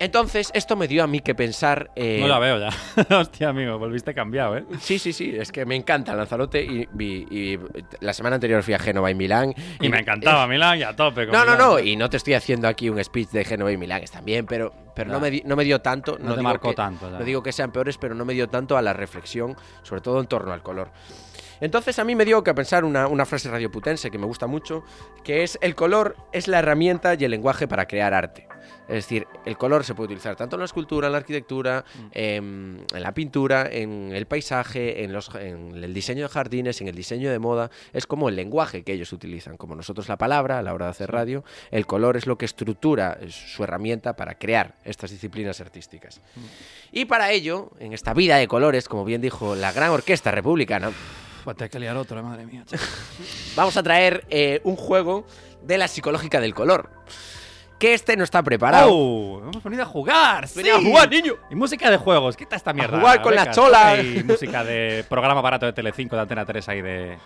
Speaker 1: Entonces, esto me dio a mí que pensar. eh,
Speaker 2: No la veo ya. Hostia, amigo, volviste cambiado, ¿eh?
Speaker 1: Sí, sí, sí, es que me encanta Lanzarote y, y- y la semana anterior fui a Génova y Milán.
Speaker 2: Y me encantaba Milán y a tope. con
Speaker 1: No, no,
Speaker 2: Milán.
Speaker 1: no, y no te estoy haciendo aquí un speech de Génova y Milán, están bien, pero, pero no,
Speaker 2: Ya.
Speaker 1: me di- no me dio tanto.
Speaker 2: No te
Speaker 1: digo
Speaker 2: marcó
Speaker 1: que-
Speaker 2: tanto, ya.
Speaker 1: No digo que sean peores, pero no me dio tanto a la reflexión, sobre todo en torno al color. Entonces a mí me dio que pensar una, una frase radioputense que me gusta mucho, que es el color es la herramienta y el lenguaje para crear arte. Es decir, el color se puede utilizar tanto en la escultura, en la arquitectura, em, en la pintura, en el paisaje, en, los, en el diseño de jardines, en el diseño de moda. Es como el lenguaje que ellos utilizan, como nosotros la palabra a la hora de hacer radio. El color es lo que estructura, es su herramienta para crear estas disciplinas artísticas. Y para ello, en esta vida de colores, como bien dijo la gran orquesta republicana,
Speaker 2: Pues hay que liar otro, madre mía. chaval.
Speaker 1: vamos a traer eh, un juego de la psicológica del color. Que este no está preparado.
Speaker 2: ¡Oh! Hemos venido a jugar.
Speaker 1: Venid a
Speaker 2: sí.
Speaker 1: jugar, niño.
Speaker 2: Y música de juegos, quita esta mierda.
Speaker 1: jugar con la
Speaker 2: Venga,
Speaker 1: chola.
Speaker 2: Y música de programa barato de Telecinco de Antena 3 ahí de.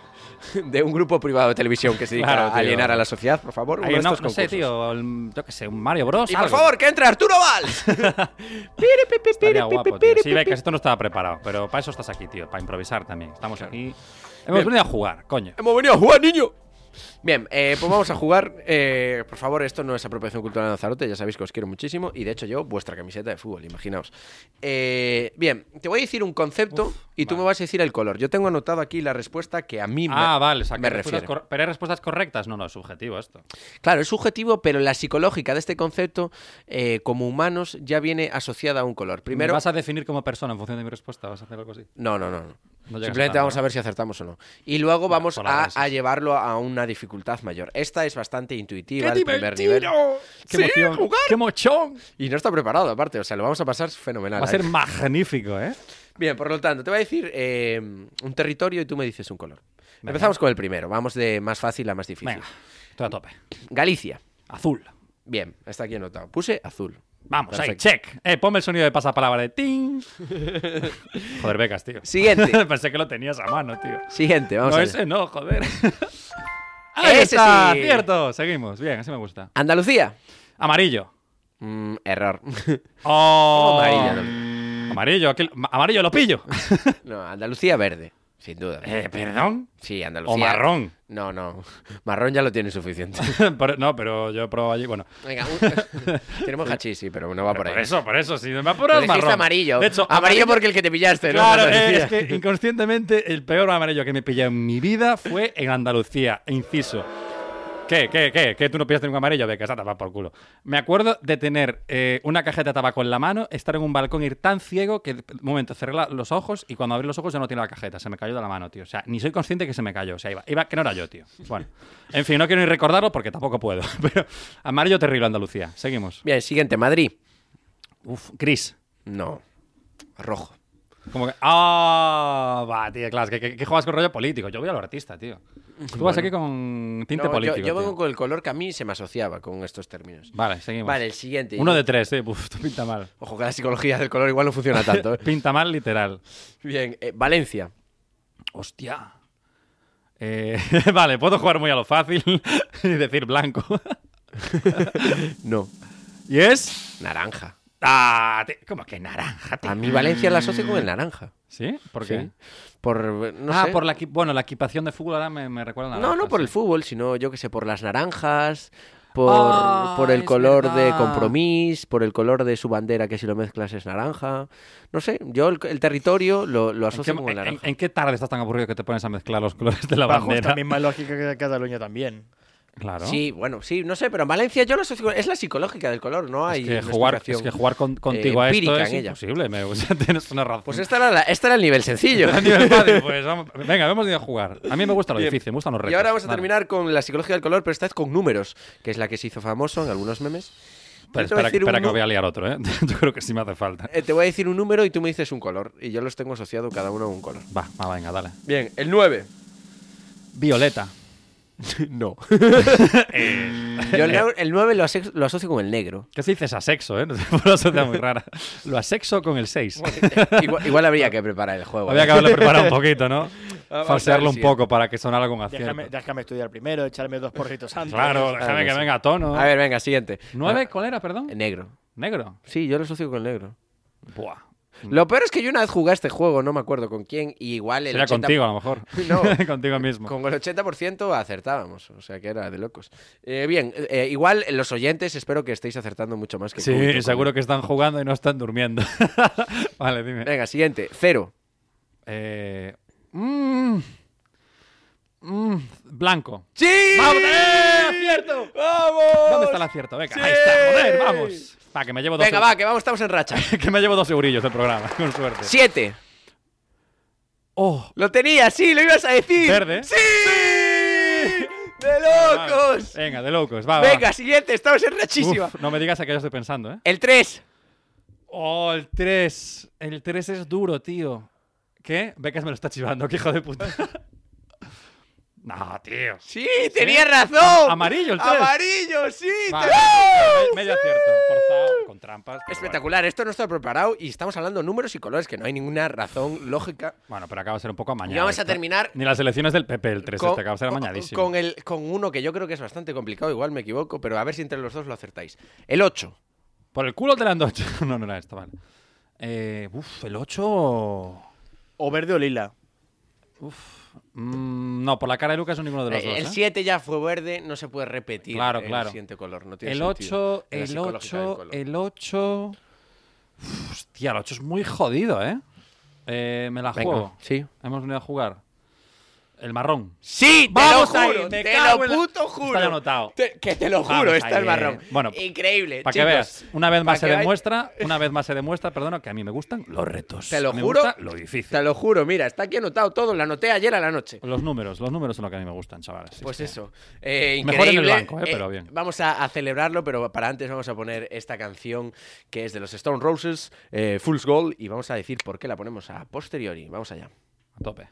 Speaker 1: de un grupo privado de televisión que se dedica
Speaker 2: Claro,
Speaker 1: a
Speaker 2: tío.
Speaker 1: alienar a la sociedad, por favor. uno
Speaker 2: Ahí,
Speaker 1: de
Speaker 2: no,
Speaker 1: estos
Speaker 2: no sé,
Speaker 1: concursos.
Speaker 2: tío. el- yo qué sé, un Mario Bros.
Speaker 1: Y por
Speaker 2: algo.
Speaker 1: favor, que entre Arturo Valls.
Speaker 2: Estaría guapo, tío. Sí, ve que esto no estaba preparado, pero para eso estás aquí, tío, para improvisar también. Estamos
Speaker 1: Em,
Speaker 2: aquí. Hemos
Speaker 1: Bien.
Speaker 2: venido a jugar, coño.
Speaker 1: Hemos venido a jugar, niño. Bien, eh, pues vamos a jugar. Eh, por favor, esto no es apropiación cultural de Lanzarote, ya sabéis que os quiero muchísimo. Y de hecho, yo, vuestra camiseta de fútbol, imaginaos. Eh, bien, te voy a decir un concepto y tú
Speaker 2: vale.
Speaker 1: me vas a decir el color. Yo tengo anotado aquí la respuesta que a mí me-
Speaker 2: Ah, vale, o sea, que
Speaker 1: me
Speaker 2: respuestas
Speaker 1: refiere.
Speaker 2: cor- pero hay respuestas correctas. No, no, es subjetivo esto.
Speaker 1: Claro, es subjetivo, pero la psicológica de este concepto, eh, como humanos, ya viene asociada a un color.
Speaker 2: Primero.
Speaker 1: Primero,
Speaker 2: ¿Vas a definir como persona en función de mi respuesta? ¿Vas a hacer algo así?
Speaker 1: No, no, no. no.
Speaker 2: No llegas
Speaker 1: Simplemente
Speaker 2: a tanto,
Speaker 1: vamos
Speaker 2: ¿no?
Speaker 1: a ver si acertamos o no. Y luego vamos
Speaker 2: por la
Speaker 1: a,
Speaker 2: base,
Speaker 1: a
Speaker 2: sí.
Speaker 1: llevarlo a una dificultad mayor. Esta es bastante intuitiva al primer nivel.
Speaker 2: ¡Qué emoción! ¡Qué mochón!
Speaker 1: Y no está preparado, aparte. O sea, lo vamos a pasar fenomenal.
Speaker 2: Va a
Speaker 1: ¿eh?
Speaker 2: ser magnífico, ¿eh?
Speaker 1: Bien, por lo tanto, te voy a decir eh, un territorio y tú me dices un color. Empezamos con el primero. Vamos de más fácil a más difícil.
Speaker 2: Venga, estoy a tope.
Speaker 1: Galicia.
Speaker 2: Azul.
Speaker 1: Bien, está aquí anotado. Puse azul.
Speaker 2: Vamos, ahí,
Speaker 1: Perfecto.
Speaker 2: check. Eh, ponme el sonido de pasapalabra de ting. joder, becas, tío.
Speaker 1: Siguiente.
Speaker 2: Pensé que lo tenías a mano, tío.
Speaker 1: Siguiente, vamos
Speaker 2: no,
Speaker 1: a ver.
Speaker 2: ese no, joder. ahí
Speaker 1: Ese
Speaker 2: está,
Speaker 1: sí.
Speaker 2: cierto. Seguimos, bien, así me gusta.
Speaker 1: Andalucía.
Speaker 2: Amarillo.
Speaker 1: Mm, error.
Speaker 2: Oh,
Speaker 1: Amarillo,
Speaker 2: Amarillo, aquí- ma- amarillo lo pillo.
Speaker 1: no, Andalucía verde, sin duda.
Speaker 2: Eh, perdón.
Speaker 1: Sí, Andalucía.
Speaker 2: O marrón.
Speaker 1: No, no. Marrón ya lo tiene suficiente.
Speaker 2: Por- no, pero yo he probado allí. Bueno,
Speaker 1: Venga, un- tenemos hachís, sí, pero no va por
Speaker 2: por,
Speaker 1: ahí.
Speaker 2: eso, por eso, si me
Speaker 1: Lo
Speaker 2: apuras
Speaker 1: dijiste
Speaker 2: marrón.
Speaker 1: amarillo.
Speaker 2: De hecho,
Speaker 1: amarillo porque el que te pillaste, ¿no?
Speaker 2: Claro, eh,
Speaker 1: Andalucía.
Speaker 2: es que inconscientemente el peor amarillo que me pillé en mi vida fue en Andalucía, inciso. ¿Qué, qué, qué? ¿Qué tú no pillaste ningún amarillo? Ve, que esa tapa por culo. Me acuerdo de tener eh, una cajeta de tabaco en la mano, estar en un balcón, ir tan ciego que, de momento, cerré la- los ojos y cuando abrí los ojos ya no tenía la cajeta, se me cayó de la mano, tío. O sea, ni soy consciente que se me cayó. O sea, iba, iba que no era yo, tío. Bueno, en fin, no quiero ni recordarlo porque tampoco puedo. Pero amarillo terrible Andalucía. Seguimos.
Speaker 1: Bien, siguiente, Madrid.
Speaker 2: Uf, gris.
Speaker 1: No. Rojo.
Speaker 2: Como que. ¡Ah! va, tío, claro, es que, que- que juegas con rollo político. Yo voy a lo artista, tío. Tú vas aquí con tinte
Speaker 1: No,
Speaker 2: político.
Speaker 1: yo, yo vengo
Speaker 2: tío.
Speaker 1: con el color que a mí se me asociaba con estos términos.
Speaker 2: Vale, seguimos.
Speaker 1: Vale, el siguiente.
Speaker 2: Uno de tres, eh. Uf, esto pinta mal.
Speaker 1: Ojo, que la psicología del color igual no funciona tanto. ¿eh?
Speaker 2: Pinta mal, literal.
Speaker 1: Bien, eh, Valencia.
Speaker 2: ¡Hostia! Eh, vale, puedo jugar muy a lo fácil y decir blanco.
Speaker 1: No.
Speaker 2: ¿Y es?
Speaker 1: Naranja.
Speaker 2: ¡Ah! tío, ¿Cómo que naranja, tío?
Speaker 1: A mí Valencia la asocio con el naranja.
Speaker 2: ¿Sí? ¿Por qué?
Speaker 1: Sí. Por, eh, no
Speaker 2: ah,
Speaker 1: sé.
Speaker 2: por la, equi- bueno, la equipación de fútbol ahora me, me recuerda a
Speaker 1: No, no
Speaker 2: naranja,
Speaker 1: por
Speaker 2: sí.
Speaker 1: el fútbol, sino yo que sé, por las naranjas, por,
Speaker 2: Ah,
Speaker 1: por el
Speaker 2: es
Speaker 1: color de
Speaker 2: verdad.
Speaker 1: compromis, por el color de su bandera que si lo mezclas es naranja. No sé, yo el, el territorio lo, lo
Speaker 2: ¿En
Speaker 1: asocio
Speaker 2: qué-
Speaker 1: con el
Speaker 2: en- en,
Speaker 1: naranja.
Speaker 2: en qué tarde estás tan aburrido que te pones a mezclar los colores de la
Speaker 3: Bajo
Speaker 2: bandera?
Speaker 3: esta misma lógica que Cataluña también.
Speaker 2: Claro.
Speaker 1: Sí, bueno, sí, no sé, pero en Valencia yo lo asocio con- Es la psicológica del color, no hay.
Speaker 2: Es que,
Speaker 1: una
Speaker 2: jugar, es
Speaker 1: explicación,
Speaker 2: que jugar con-
Speaker 1: eh,
Speaker 2: contigo a esto
Speaker 1: empírica
Speaker 2: es
Speaker 1: en ella.
Speaker 2: imposible. Me, o sea, tienes una razón.
Speaker 1: Pues este era, la- este era el nivel sencillo.
Speaker 2: A nivel fácil, pues, vamos- venga, hemos ido a jugar. A mí me gusta lo
Speaker 1: Bien.
Speaker 2: difícil, me gustan los retos.
Speaker 1: Y ahora vamos a
Speaker 2: Vale.
Speaker 1: terminar con la psicología del color, pero esta vez con números, que es la que se hizo famoso en algunos memes.
Speaker 2: Pero
Speaker 1: Yo te voy a
Speaker 2: espera,
Speaker 1: decir
Speaker 2: espera
Speaker 1: un
Speaker 2: que
Speaker 1: nu-
Speaker 2: voy a liar otro, ¿eh? Yo creo que sí me hace falta.
Speaker 1: eh, Te voy a decir un número y tú me dices un color. Y yo los tengo asociado cada uno a un color.
Speaker 2: Va, va, venga, dale.
Speaker 1: Bien, el 9.
Speaker 2: Violeta.
Speaker 1: No. Yo el, neu- el 9 lo, asex- lo asocio con el negro.
Speaker 2: ¿Qué se dice asexo, eh? No sé, Una sociedad muy rara. Lo asexo con el 6.
Speaker 1: Igual, igual habría que preparar el juego.
Speaker 2: Había
Speaker 1: ¿eh?
Speaker 2: que haberlo preparado un poquito, ¿no?
Speaker 1: ver,
Speaker 2: Falsearlo un
Speaker 1: sí.
Speaker 2: poco para que sonara con
Speaker 3: Déjame,
Speaker 2: acierto.
Speaker 3: déjame estudiar primero, echarme dos porritos antes.
Speaker 2: Claro, déjame que
Speaker 1: sí.
Speaker 2: venga a tono.
Speaker 1: A ver, venga, siguiente. Ah,
Speaker 2: ¿Nueve? ¿Cuál era, perdón?
Speaker 1: Negro.
Speaker 2: Negro.
Speaker 1: Sí, yo lo asocio con negro.
Speaker 2: Buah.
Speaker 1: Lo peor es que yo una vez jugué a este juego, no me acuerdo con quién, y igual el
Speaker 2: Será
Speaker 1: 80
Speaker 2: contigo, a lo mejor.
Speaker 1: No.
Speaker 2: contigo mismo.
Speaker 1: Con el 80% acertábamos, o sea que era de locos. Eh, bien, eh, igual los oyentes espero que estéis acertando mucho más que el público
Speaker 2: Sí,
Speaker 1: con
Speaker 2: seguro
Speaker 1: él.
Speaker 2: que están jugando y no están durmiendo. vale, dime.
Speaker 1: Venga, siguiente, cero.
Speaker 2: Eh, mm, mm, blanco.
Speaker 1: ¡Sí!
Speaker 2: ¡Vamos! ¡Eh, acierto!
Speaker 1: ¡Vamos!
Speaker 2: ¿Dónde está el acierto? Venga,
Speaker 1: ¡Sí!
Speaker 2: ahí está, joder, vamos. Va, que me llevo dos
Speaker 1: Venga,
Speaker 2: eu-
Speaker 1: va, que vamos, estamos en racha.
Speaker 2: que me llevo dos eurillos del programa, con suerte.
Speaker 1: Siete.
Speaker 2: Oh,
Speaker 1: Lo tenía, sí, lo ibas a decir.
Speaker 2: Verde.
Speaker 1: ¡Sí! ¡De locos!
Speaker 2: Venga, de locos, va, va.
Speaker 1: Venga, siguiente, estamos en rachísima.
Speaker 2: Uf, no me digas a qué yo estoy pensando, ¿eh?
Speaker 1: El 3.
Speaker 2: Oh, el 3. El 3 es duro, tío. ¿Qué? Becas me lo está chivando, qué hijo de puta. no, tío.
Speaker 1: Sí, tenía razón.
Speaker 2: Amarillo, el tres.
Speaker 1: Amarillo, sí.
Speaker 2: Vale,
Speaker 1: tres.
Speaker 2: me- medio acierto, forzado, con trampas. pero
Speaker 1: Espectacular, esto no está preparado y estamos hablando números y colores que no hay ninguna razón lógica.
Speaker 2: Bueno, Bueno, pero acaba de ser un poco amañado.
Speaker 1: Y vamos a
Speaker 2: esto.
Speaker 1: terminar-
Speaker 2: Ni las elecciones del PP, el 3, este acaba de ser
Speaker 1: con-
Speaker 2: amañadísimo.
Speaker 1: con el, con uno que yo creo que es bastante complicado, igual me equivoco, pero a ver si entre los dos lo acertáis. El 8.
Speaker 2: Por el culo te la han dado. no, no era esto, vale. Eh, uf, el 8.
Speaker 3: O verde o lila.
Speaker 2: Mm, no, por la cara de Lucas no ninguno de los dos.
Speaker 1: el
Speaker 2: ¿eh?
Speaker 1: 7 ya fue verde, no se puede repetir
Speaker 2: Claro,
Speaker 1: el
Speaker 2: claro.
Speaker 1: siguiente color. No tiene
Speaker 2: El
Speaker 1: sentido
Speaker 2: 8,
Speaker 1: en la
Speaker 2: el
Speaker 1: psicológica del
Speaker 2: 8,
Speaker 1: color.
Speaker 2: el 8. Hostia, el 8 es muy jodido, ¿eh? Eh, me la
Speaker 1: Venga,
Speaker 2: juego.
Speaker 1: sí.
Speaker 2: Hemos venido a jugar. El marrón.
Speaker 1: Sí, te
Speaker 2: Vamos
Speaker 1: lo
Speaker 2: ahí,
Speaker 1: juro,
Speaker 2: me
Speaker 1: te
Speaker 2: cago
Speaker 1: lo
Speaker 2: en la-
Speaker 1: puto
Speaker 2: Está
Speaker 1: juro.
Speaker 2: ya anotado.
Speaker 1: Te- que te lo juro,
Speaker 2: Vamos
Speaker 1: está el
Speaker 2: ahí,
Speaker 1: marrón.
Speaker 2: eh. Bueno,
Speaker 1: increíble.
Speaker 2: Para que
Speaker 1: chicos.
Speaker 2: veas, una vez más
Speaker 1: Pa'
Speaker 2: se
Speaker 1: que veáis-
Speaker 2: demuestra, una vez más se demuestra, perdona, que a mí me gustan los retos.
Speaker 1: Te lo
Speaker 2: me
Speaker 1: juro.
Speaker 2: gusta lo difícil.
Speaker 1: Te lo juro, mira, está aquí anotado todo, lo anoté ayer a la noche.
Speaker 2: Los números, los números son lo que a mí me gustan, chavales. Sí,
Speaker 1: Pues
Speaker 2: sí.
Speaker 1: eso. eh,
Speaker 2: Mejor en el
Speaker 1: increíble.
Speaker 2: banco, eh, pero bien.
Speaker 1: Vamos a, a celebrarlo, pero para antes vamos a poner esta canción que es de los Stone Roses, eh, Fool's Gold, y vamos a decir por qué la ponemos a posteriori. Vamos allá.
Speaker 2: A tope.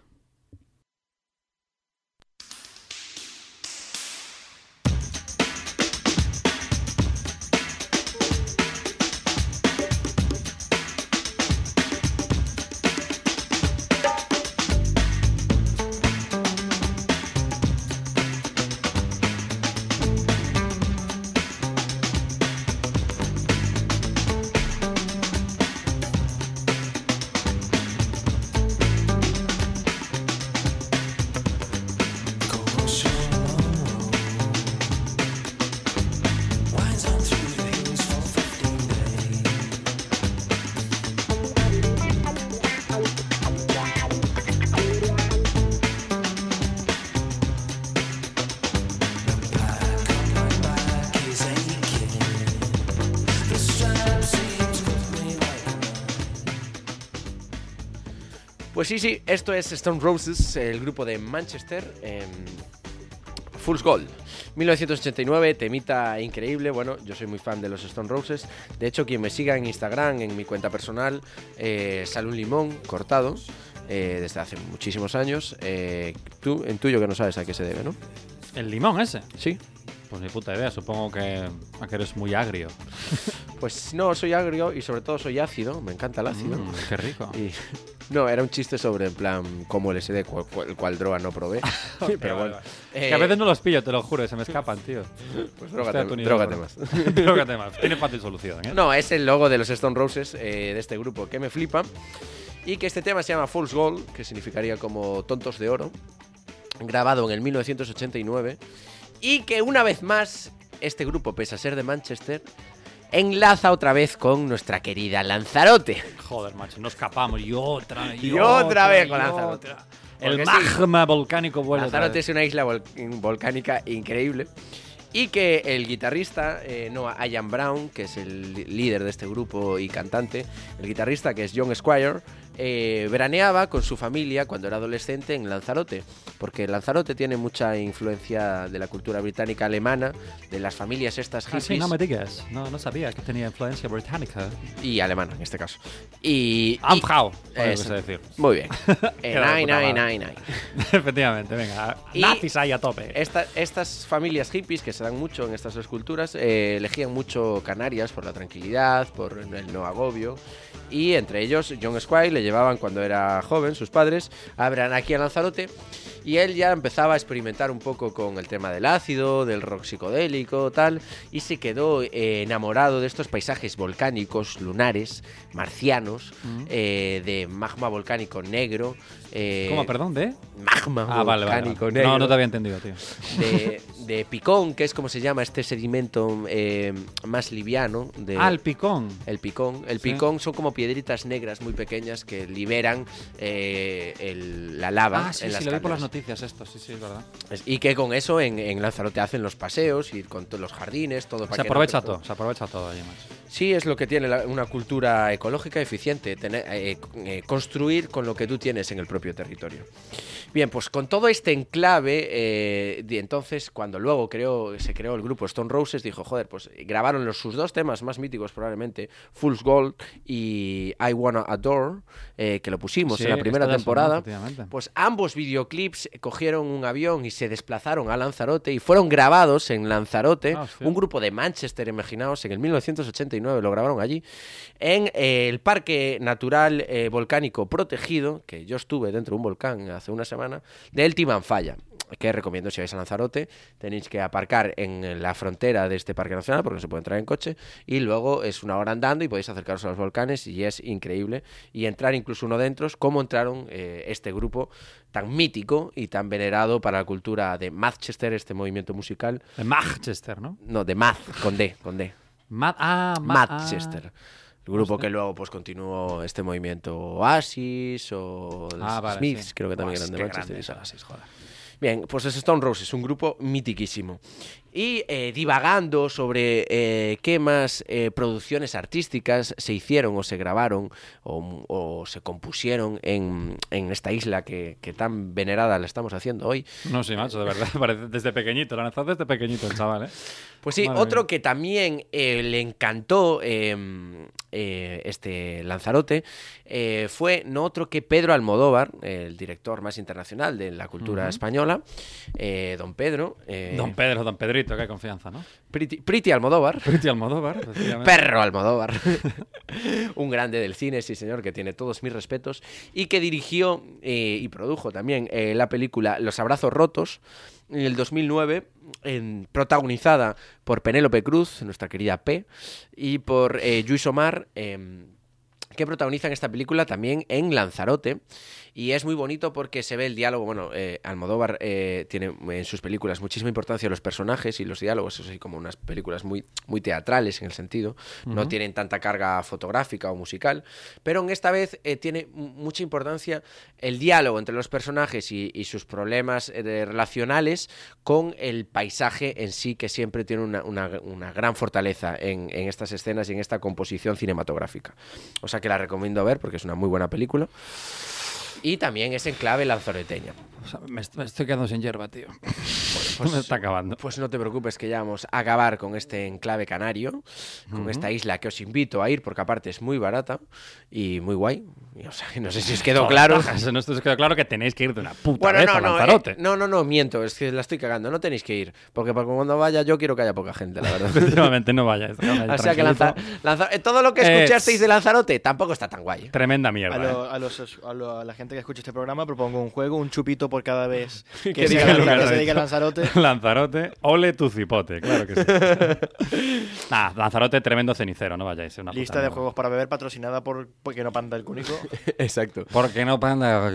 Speaker 1: Pues sí, sí, esto es Stone Roses, el grupo de Manchester. em, Fool's Gold, 1989, temita increíble. Bueno, yo soy muy fan de los Stone Roses. De hecho, quien me siga en Instagram, en mi cuenta personal, eh, sale un limón cortado eh, desde hace muchísimos años. Eh, tú, en tuyo que no sabes a qué se debe, ¿no?
Speaker 2: El limón ese.
Speaker 1: Sí.
Speaker 2: Pues ni puta idea, supongo que, a que eres muy agrio.
Speaker 1: Pues no, soy agrio y sobre todo soy ácido. Me encanta el ácido.
Speaker 2: Mm, qué rico.
Speaker 1: Y- no, era un chiste sobre, en plan, como LSD, cu- cu- el cual droga no probé.
Speaker 2: Vale,
Speaker 1: Pero
Speaker 2: vale,
Speaker 1: bueno.
Speaker 2: vale. Es que a
Speaker 1: Eh,
Speaker 2: veces no los pillo, te lo juro, se me escapan, tío.
Speaker 1: Pues
Speaker 2: Estoy a
Speaker 1: drógate,
Speaker 2: tu nivel,
Speaker 1: drógate
Speaker 2: bro.
Speaker 1: más.
Speaker 2: drógate más. Tiene fácil solución, ¿eh?
Speaker 1: No, es el logo de los Stone Roses eh, de este grupo que me flipa. Y que este tema se llama Fool's Gold, que significaría como Tontos de Oro, grabado en el 1989. Y que una vez más, este grupo, pese a ser de Manchester, enlaza otra vez con nuestra querida Lanzarote.
Speaker 2: Joder, macho, nos escapamos y otra, y,
Speaker 1: Y otra vez con
Speaker 2: y
Speaker 1: Lanzarote.
Speaker 2: otra.
Speaker 1: Porque
Speaker 2: El
Speaker 1: sí.
Speaker 2: magma volcánico vuelve otra
Speaker 1: Lanzarote
Speaker 2: vez.
Speaker 1: es una isla vol- volcánica increíble. Y que el guitarrista, eh, no, Ian Brown, que es el li- líder de este grupo y cantante, el guitarrista que es John Squire, eh, veraneaba con su familia cuando era adolescente en Lanzarote. Porque Lanzarote tiene mucha influencia de la cultura británica alemana, de las familias estas
Speaker 2: Ah,
Speaker 1: hippies
Speaker 2: sí, no me digas. No, no sabía que tenía influencia británica.
Speaker 1: y alemana en este caso. Y. y-
Speaker 2: Amfrau, podemos
Speaker 1: Eso.
Speaker 2: decir.
Speaker 1: muy bien. Eh,
Speaker 2: Qué de
Speaker 1: nine,
Speaker 2: puta
Speaker 1: nine,
Speaker 2: madre.
Speaker 1: nine, nine.
Speaker 2: Efectivamente, venga.
Speaker 1: Y- eh,
Speaker 2: Nazis ahí a tope.
Speaker 1: Esta- estas familias hippies que se dan mucho en estas dos culturas eh, elegían mucho Canarias por la tranquilidad, por el no agobio. Y entre ellos, John Squire le llevaban cuando era joven, sus padres, a ver, aquí a Lanzarote. Y Y él ya empezaba a experimentar un poco con el tema del ácido, del rock psicodélico, tal, y se quedó eh, enamorado de estos paisajes volcánicos, lunares, marcianos,
Speaker 2: Mm.
Speaker 1: eh, de magma volcánico negro. eh,
Speaker 2: ¿Cómo, perdón? ¿De?
Speaker 1: Magma
Speaker 2: Ah, vale, vale.
Speaker 1: volcánico
Speaker 2: vale.
Speaker 1: negro
Speaker 2: No, no te había entendido, tío.
Speaker 1: de, de picón, que es como se llama este sedimento eh, más liviano. De,
Speaker 2: Ah, el picón.
Speaker 1: el picón. El
Speaker 2: Sí.
Speaker 1: picón son como piedritas negras muy pequeñas que liberan eh, el- la lava.
Speaker 2: Ah, sí,
Speaker 1: en
Speaker 2: sí, lo vi por
Speaker 1: calderas.
Speaker 2: las noticias esto, sí, sí, es verdad.
Speaker 1: Es- Y que con eso en, en Lanzarote hacen los paseos, ir con to- los jardines, todo
Speaker 2: Se
Speaker 1: para que no
Speaker 2: aprovecha
Speaker 1: perju-
Speaker 2: todo, se aprovecha todo allí, macho.
Speaker 1: Sí, es lo que tiene la- una cultura ecológica eficiente, tener- eh, eh, construir con lo que tú tienes en el propio territorio. Bien, pues con todo este enclave, eh, de entonces cuando luego creó, se creó el grupo Stone Roses, dijo, joder, pues grabaron los, sus dos temas más míticos probablemente, Fool's Gold y I Wanna Adore, eh, que lo pusimos
Speaker 2: Sí,
Speaker 1: en la
Speaker 2: que
Speaker 1: primera
Speaker 2: está ya
Speaker 1: temporada.
Speaker 2: sonando, efectivamente.
Speaker 1: Pues ambos videoclips cogieron un avión y se desplazaron a Lanzarote y fueron grabados en Lanzarote,
Speaker 2: Ah, hostia.
Speaker 1: un grupo de Manchester, imaginaos, en el 1989 lo grabaron allí, en eh, el Parque Natural eh, Volcánico Protegido, que yo estuve dentro de un volcán hace una semana, del Timanfaya que recomiendo si vais a Lanzarote, tenéis que aparcar en la frontera de este parque nacional porque no se puede entrar en coche y luego es una hora andando y podéis acercaros a los volcanes y es increíble y entrar incluso uno dentro, es cómo entraron eh, este grupo tan mítico y tan venerado para la cultura de Manchester, este movimiento musical,
Speaker 2: De Manchester, ¿no?
Speaker 1: no, de Math, con D, con D,
Speaker 2: Ma- ah, ma-
Speaker 1: Manchester. El grupo que luego pues continuó este movimiento Oasis o los
Speaker 2: Ah, vale,
Speaker 1: Smiths,
Speaker 2: sí.
Speaker 1: creo que también
Speaker 2: Buah,
Speaker 1: eran de
Speaker 2: qué
Speaker 1: Manchester.
Speaker 2: grandes,
Speaker 1: y tal.
Speaker 2: Oasis, joder.
Speaker 1: Bien, pues es Stone Roses, un grupo mitiquísimo. Y eh, divagando sobre eh, qué más eh, producciones artísticas se hicieron o se grabaron o, o se compusieron en, en esta isla que, que tan venerada la estamos haciendo hoy.
Speaker 2: No, sí, macho, de verdad. parece- Desde pequeñito, lo lanzado desde pequeñito el chaval, ¿eh?
Speaker 1: Pues sí,
Speaker 2: Madre
Speaker 1: otro
Speaker 2: mía.
Speaker 1: que también eh, le encantó eh, eh, este Lanzarote eh, fue no otro que Pedro Almodóvar, el director más internacional de la cultura española, eh, don Pedro. eh,
Speaker 2: Don Pedro, Don Pedrito, que hay confianza, ¿no?
Speaker 1: Priti- Priti Almodóvar.
Speaker 2: Priti Almodóvar, efectivamente.
Speaker 1: Perro Almodóvar. un grande del cine, sí señor, que tiene todos mis respetos. Y que dirigió eh, y produjo también eh, la película Los Abrazos Rotos en el 2009, en- protagonizada por Penélope Cruz, nuestra querida P, y por eh, Luis Omar. em, que protagonizan esta película también en Lanzarote. Y es muy bonito porque se ve el diálogo. Bueno, eh, Almodóvar eh, tiene en sus películas muchísima importancia los personajes y los diálogos. Es así como unas películas muy, muy teatrales en el sentido. No tienen tanta carga fotográfica o musical. Pero en esta vez eh, tiene mu- mucha importancia el diálogo entre los personajes y, y sus problemas eh, de- relacionales con el paisaje en sí, que siempre tiene una, una- una gran fortaleza en, en estas escenas y en esta composición cinematográfica. O sea que la recomiendo ver porque es una muy buena película. Y también es en clave lanzaroteña.
Speaker 2: O sea, me, est- me estoy quedando sin hierba, tío. me está acabando.
Speaker 1: Pues no te preocupes que ya vamos a acabar con este enclave canario, con esta isla que os invito a ir porque aparte es muy barata y muy guay. Y, o sea, no sé si os quedó claro.
Speaker 2: Eso no esto os quedó claro que tenéis que ir de una puta
Speaker 1: Bueno,
Speaker 2: vez
Speaker 1: no,
Speaker 2: a
Speaker 1: no,
Speaker 2: Lanzarote.
Speaker 1: eh, no, no, no, miento, es que la estoy cagando, no tenéis que ir, porque para cuando vaya yo quiero que haya poca gente, la verdad.
Speaker 2: Efectivamente, no vayáis. déjame ahí
Speaker 1: o sea que
Speaker 2: tranquilito.
Speaker 1: Lanza- Lanza- eh, todo lo que
Speaker 2: Eh,
Speaker 1: escuchasteis de Lanzarote tampoco está tan guay.
Speaker 2: Tremenda
Speaker 3: A,
Speaker 2: mierda.
Speaker 3: lo-
Speaker 2: ¿eh?
Speaker 3: a los- a lo- a la gente que escucha este programa propongo un juego, un chupito por cada vez que,
Speaker 2: Que
Speaker 3: se
Speaker 2: diga
Speaker 3: diga-
Speaker 2: lo que
Speaker 3: que
Speaker 2: ha
Speaker 3: se diga
Speaker 2: dicho.
Speaker 3: Lanzarote.
Speaker 2: Lanzarote, ole tu cipote, claro que sí. nah, Lanzarote, tremendo cenicero, no vayáis. es Una puta
Speaker 3: Lista de
Speaker 2: mierda.
Speaker 3: juegos para beber patrocinada por Porque no panda el cúnico.
Speaker 1: Exacto.
Speaker 2: ¿Por qué no panda?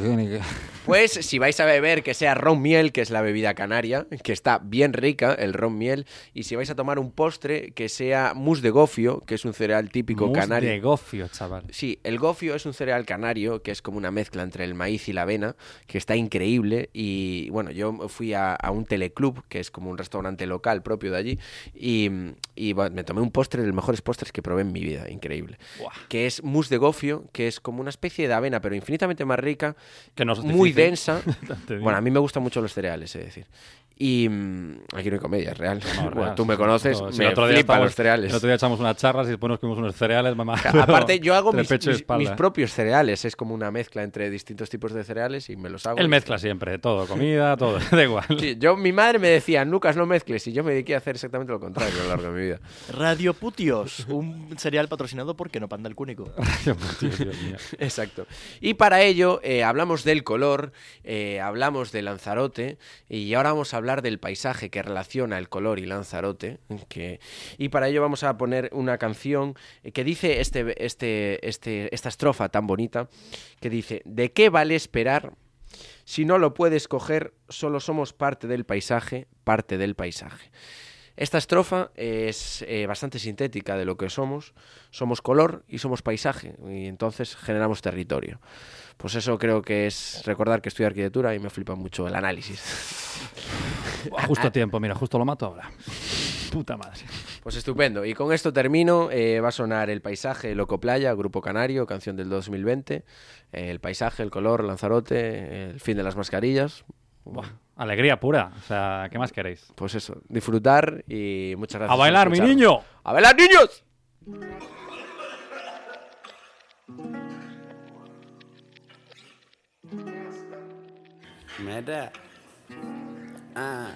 Speaker 1: Pues si vais a beber, que sea ron miel, que es la bebida canaria, que está bien rica, el ron miel. Y si vais a tomar un postre, que sea mousse de gofio, que es un cereal típico
Speaker 2: Mousse
Speaker 1: canario.
Speaker 2: de gofio, chaval.
Speaker 1: Sí, el gofio es un cereal canario que es como una mezcla entre el maíz y la avena, que está increíble. Y bueno, yo fui a, a un teleclub, que es como un restaurante local propio de allí, y, y, bueno, me tomé un postre de los mejores postres que probé en mi vida, increíble. Que es mousse de gofio, que es como una especie de avena, pero infinitamente más rica,
Speaker 2: Que no es
Speaker 1: muy
Speaker 2: difícil.
Speaker 1: densa.
Speaker 2: Te digo.
Speaker 1: bueno, a mí me gustan mucho los cereales, es decir. Y mm, aquí no hay comedia, es real.
Speaker 2: No,
Speaker 1: Bueno,
Speaker 2: real,
Speaker 1: tú
Speaker 2: sí,
Speaker 1: me
Speaker 2: sí.
Speaker 1: conoces,
Speaker 2: No, si
Speaker 1: me
Speaker 2: el otro día
Speaker 1: flipan
Speaker 2: estábamos-
Speaker 1: los cereales.
Speaker 2: El otro día echamos unas charlas y después nos comimos unos cereales, mamá.
Speaker 1: Ca-
Speaker 2: pero
Speaker 1: Aparte, yo hago
Speaker 2: entre
Speaker 1: mis,
Speaker 2: pecho y
Speaker 1: mis- mis
Speaker 2: espalda.
Speaker 1: propios cereales. Es como una mezcla entre distintos tipos de cereales y me los hago.
Speaker 2: Él mezcla siempre, todo, comida, todo, da igual.
Speaker 1: Sí, yo, mi madre me decía, Lucas, no mezcles. Y yo me dediqué a hacer exactamente lo contrario a lo largo de mi vida.
Speaker 3: Radio Putios, un cereal patrocinado por Que no panda el cúnico.
Speaker 2: Dios mío, Dios mío.
Speaker 1: Exacto. Y para ello eh, hablamos del color color, eh, hablamos de Lanzarote y ahora vamos a hablar del paisaje que relaciona el color y Lanzarote. que- y para ello vamos a poner una canción eh, que dice este, este, este, esta estrofa tan bonita, que dice, ¿de qué vale esperar? Si no lo puedes coger, solo somos parte del paisaje, parte del paisaje. Esta estrofa es eh, bastante sintética de lo que somos. Somos color y somos paisaje, y entonces generamos territorio. Pues eso creo que es recordar que estudio arquitectura y me flipa mucho el análisis. Ah,
Speaker 2: Buah, Justo a tiempo, mira, justo lo mato ahora. Puta madre.
Speaker 1: Pues estupendo. Y con esto termino. Eh, va a sonar El Paisaje, Loco Playa, Grupo Canario, canción del 2020. Eh, el Paisaje, El Color, Lanzarote, El Fin de las Mascarillas.
Speaker 2: Buah, alegría pura. O sea, ¿qué más queréis?
Speaker 1: Pues eso, disfrutar y muchas gracias.
Speaker 2: ¡A
Speaker 1: por
Speaker 2: bailar, mi
Speaker 1: escucharnos.
Speaker 2: niño!
Speaker 1: ¡A bailar, niños!
Speaker 5: Mira. Ah.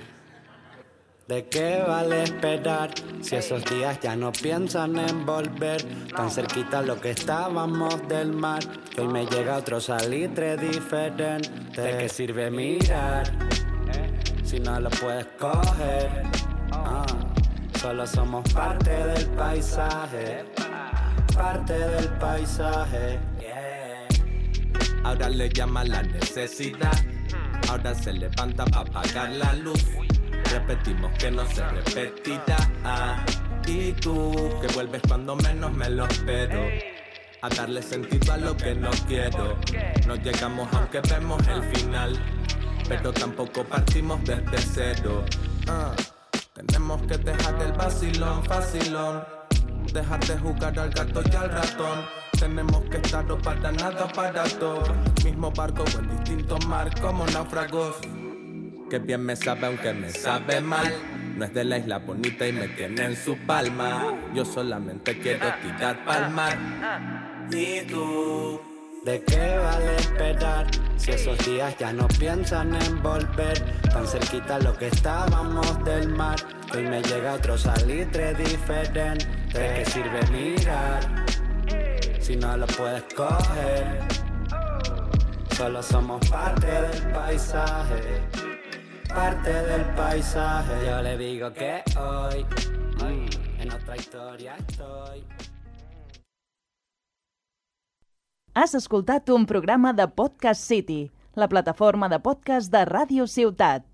Speaker 5: ¿De qué vale esperar si esos días ya no piensan en volver? Tan cerquita lo que estábamos del mar, que hoy me llega otro salitre diferente. ¿De qué sirve Eh. mirar si no lo puedes coger? Ah. Solo somos parte del paisaje, parte del paisaje. Yeah.
Speaker 6: Ahora le llama la necesidad. Ahora se levanta para apagar la luz. Repetimos que no se repetirá. Ah, y tú que vuelves cuando menos me lo espero. A darle sentido a lo que no quiero. No llegamos aunque vemos el final. Pero tampoco partimos desde cero. Ah, tenemos que dejar el vacilón, facilón. Dejaste jugar al gato y al ratón. Tenemos que estar o para nada o para todo. Mismo barco o en distinto mar como náufragos. Que bien me sabe aunque me sabe mal. No es de la isla bonita y me tiene en su palma. Yo solamente quiero tirar pa'l mar. Y tú.
Speaker 5: ¿De qué vale esperar si esos días ya no piensan en volver? Tan cerquita lo que estábamos del mar, que hoy me llega otro salitre diferente. ¿De qué sirve mirar si no lo puedes coger? Solo somos parte del paisaje, parte del paisaje. Yo le digo que hoy mm, en otra historia estoy.
Speaker 7: Has escoltat un programa de Podcast City, la plataforma de podcast de Ràdio Ciutat.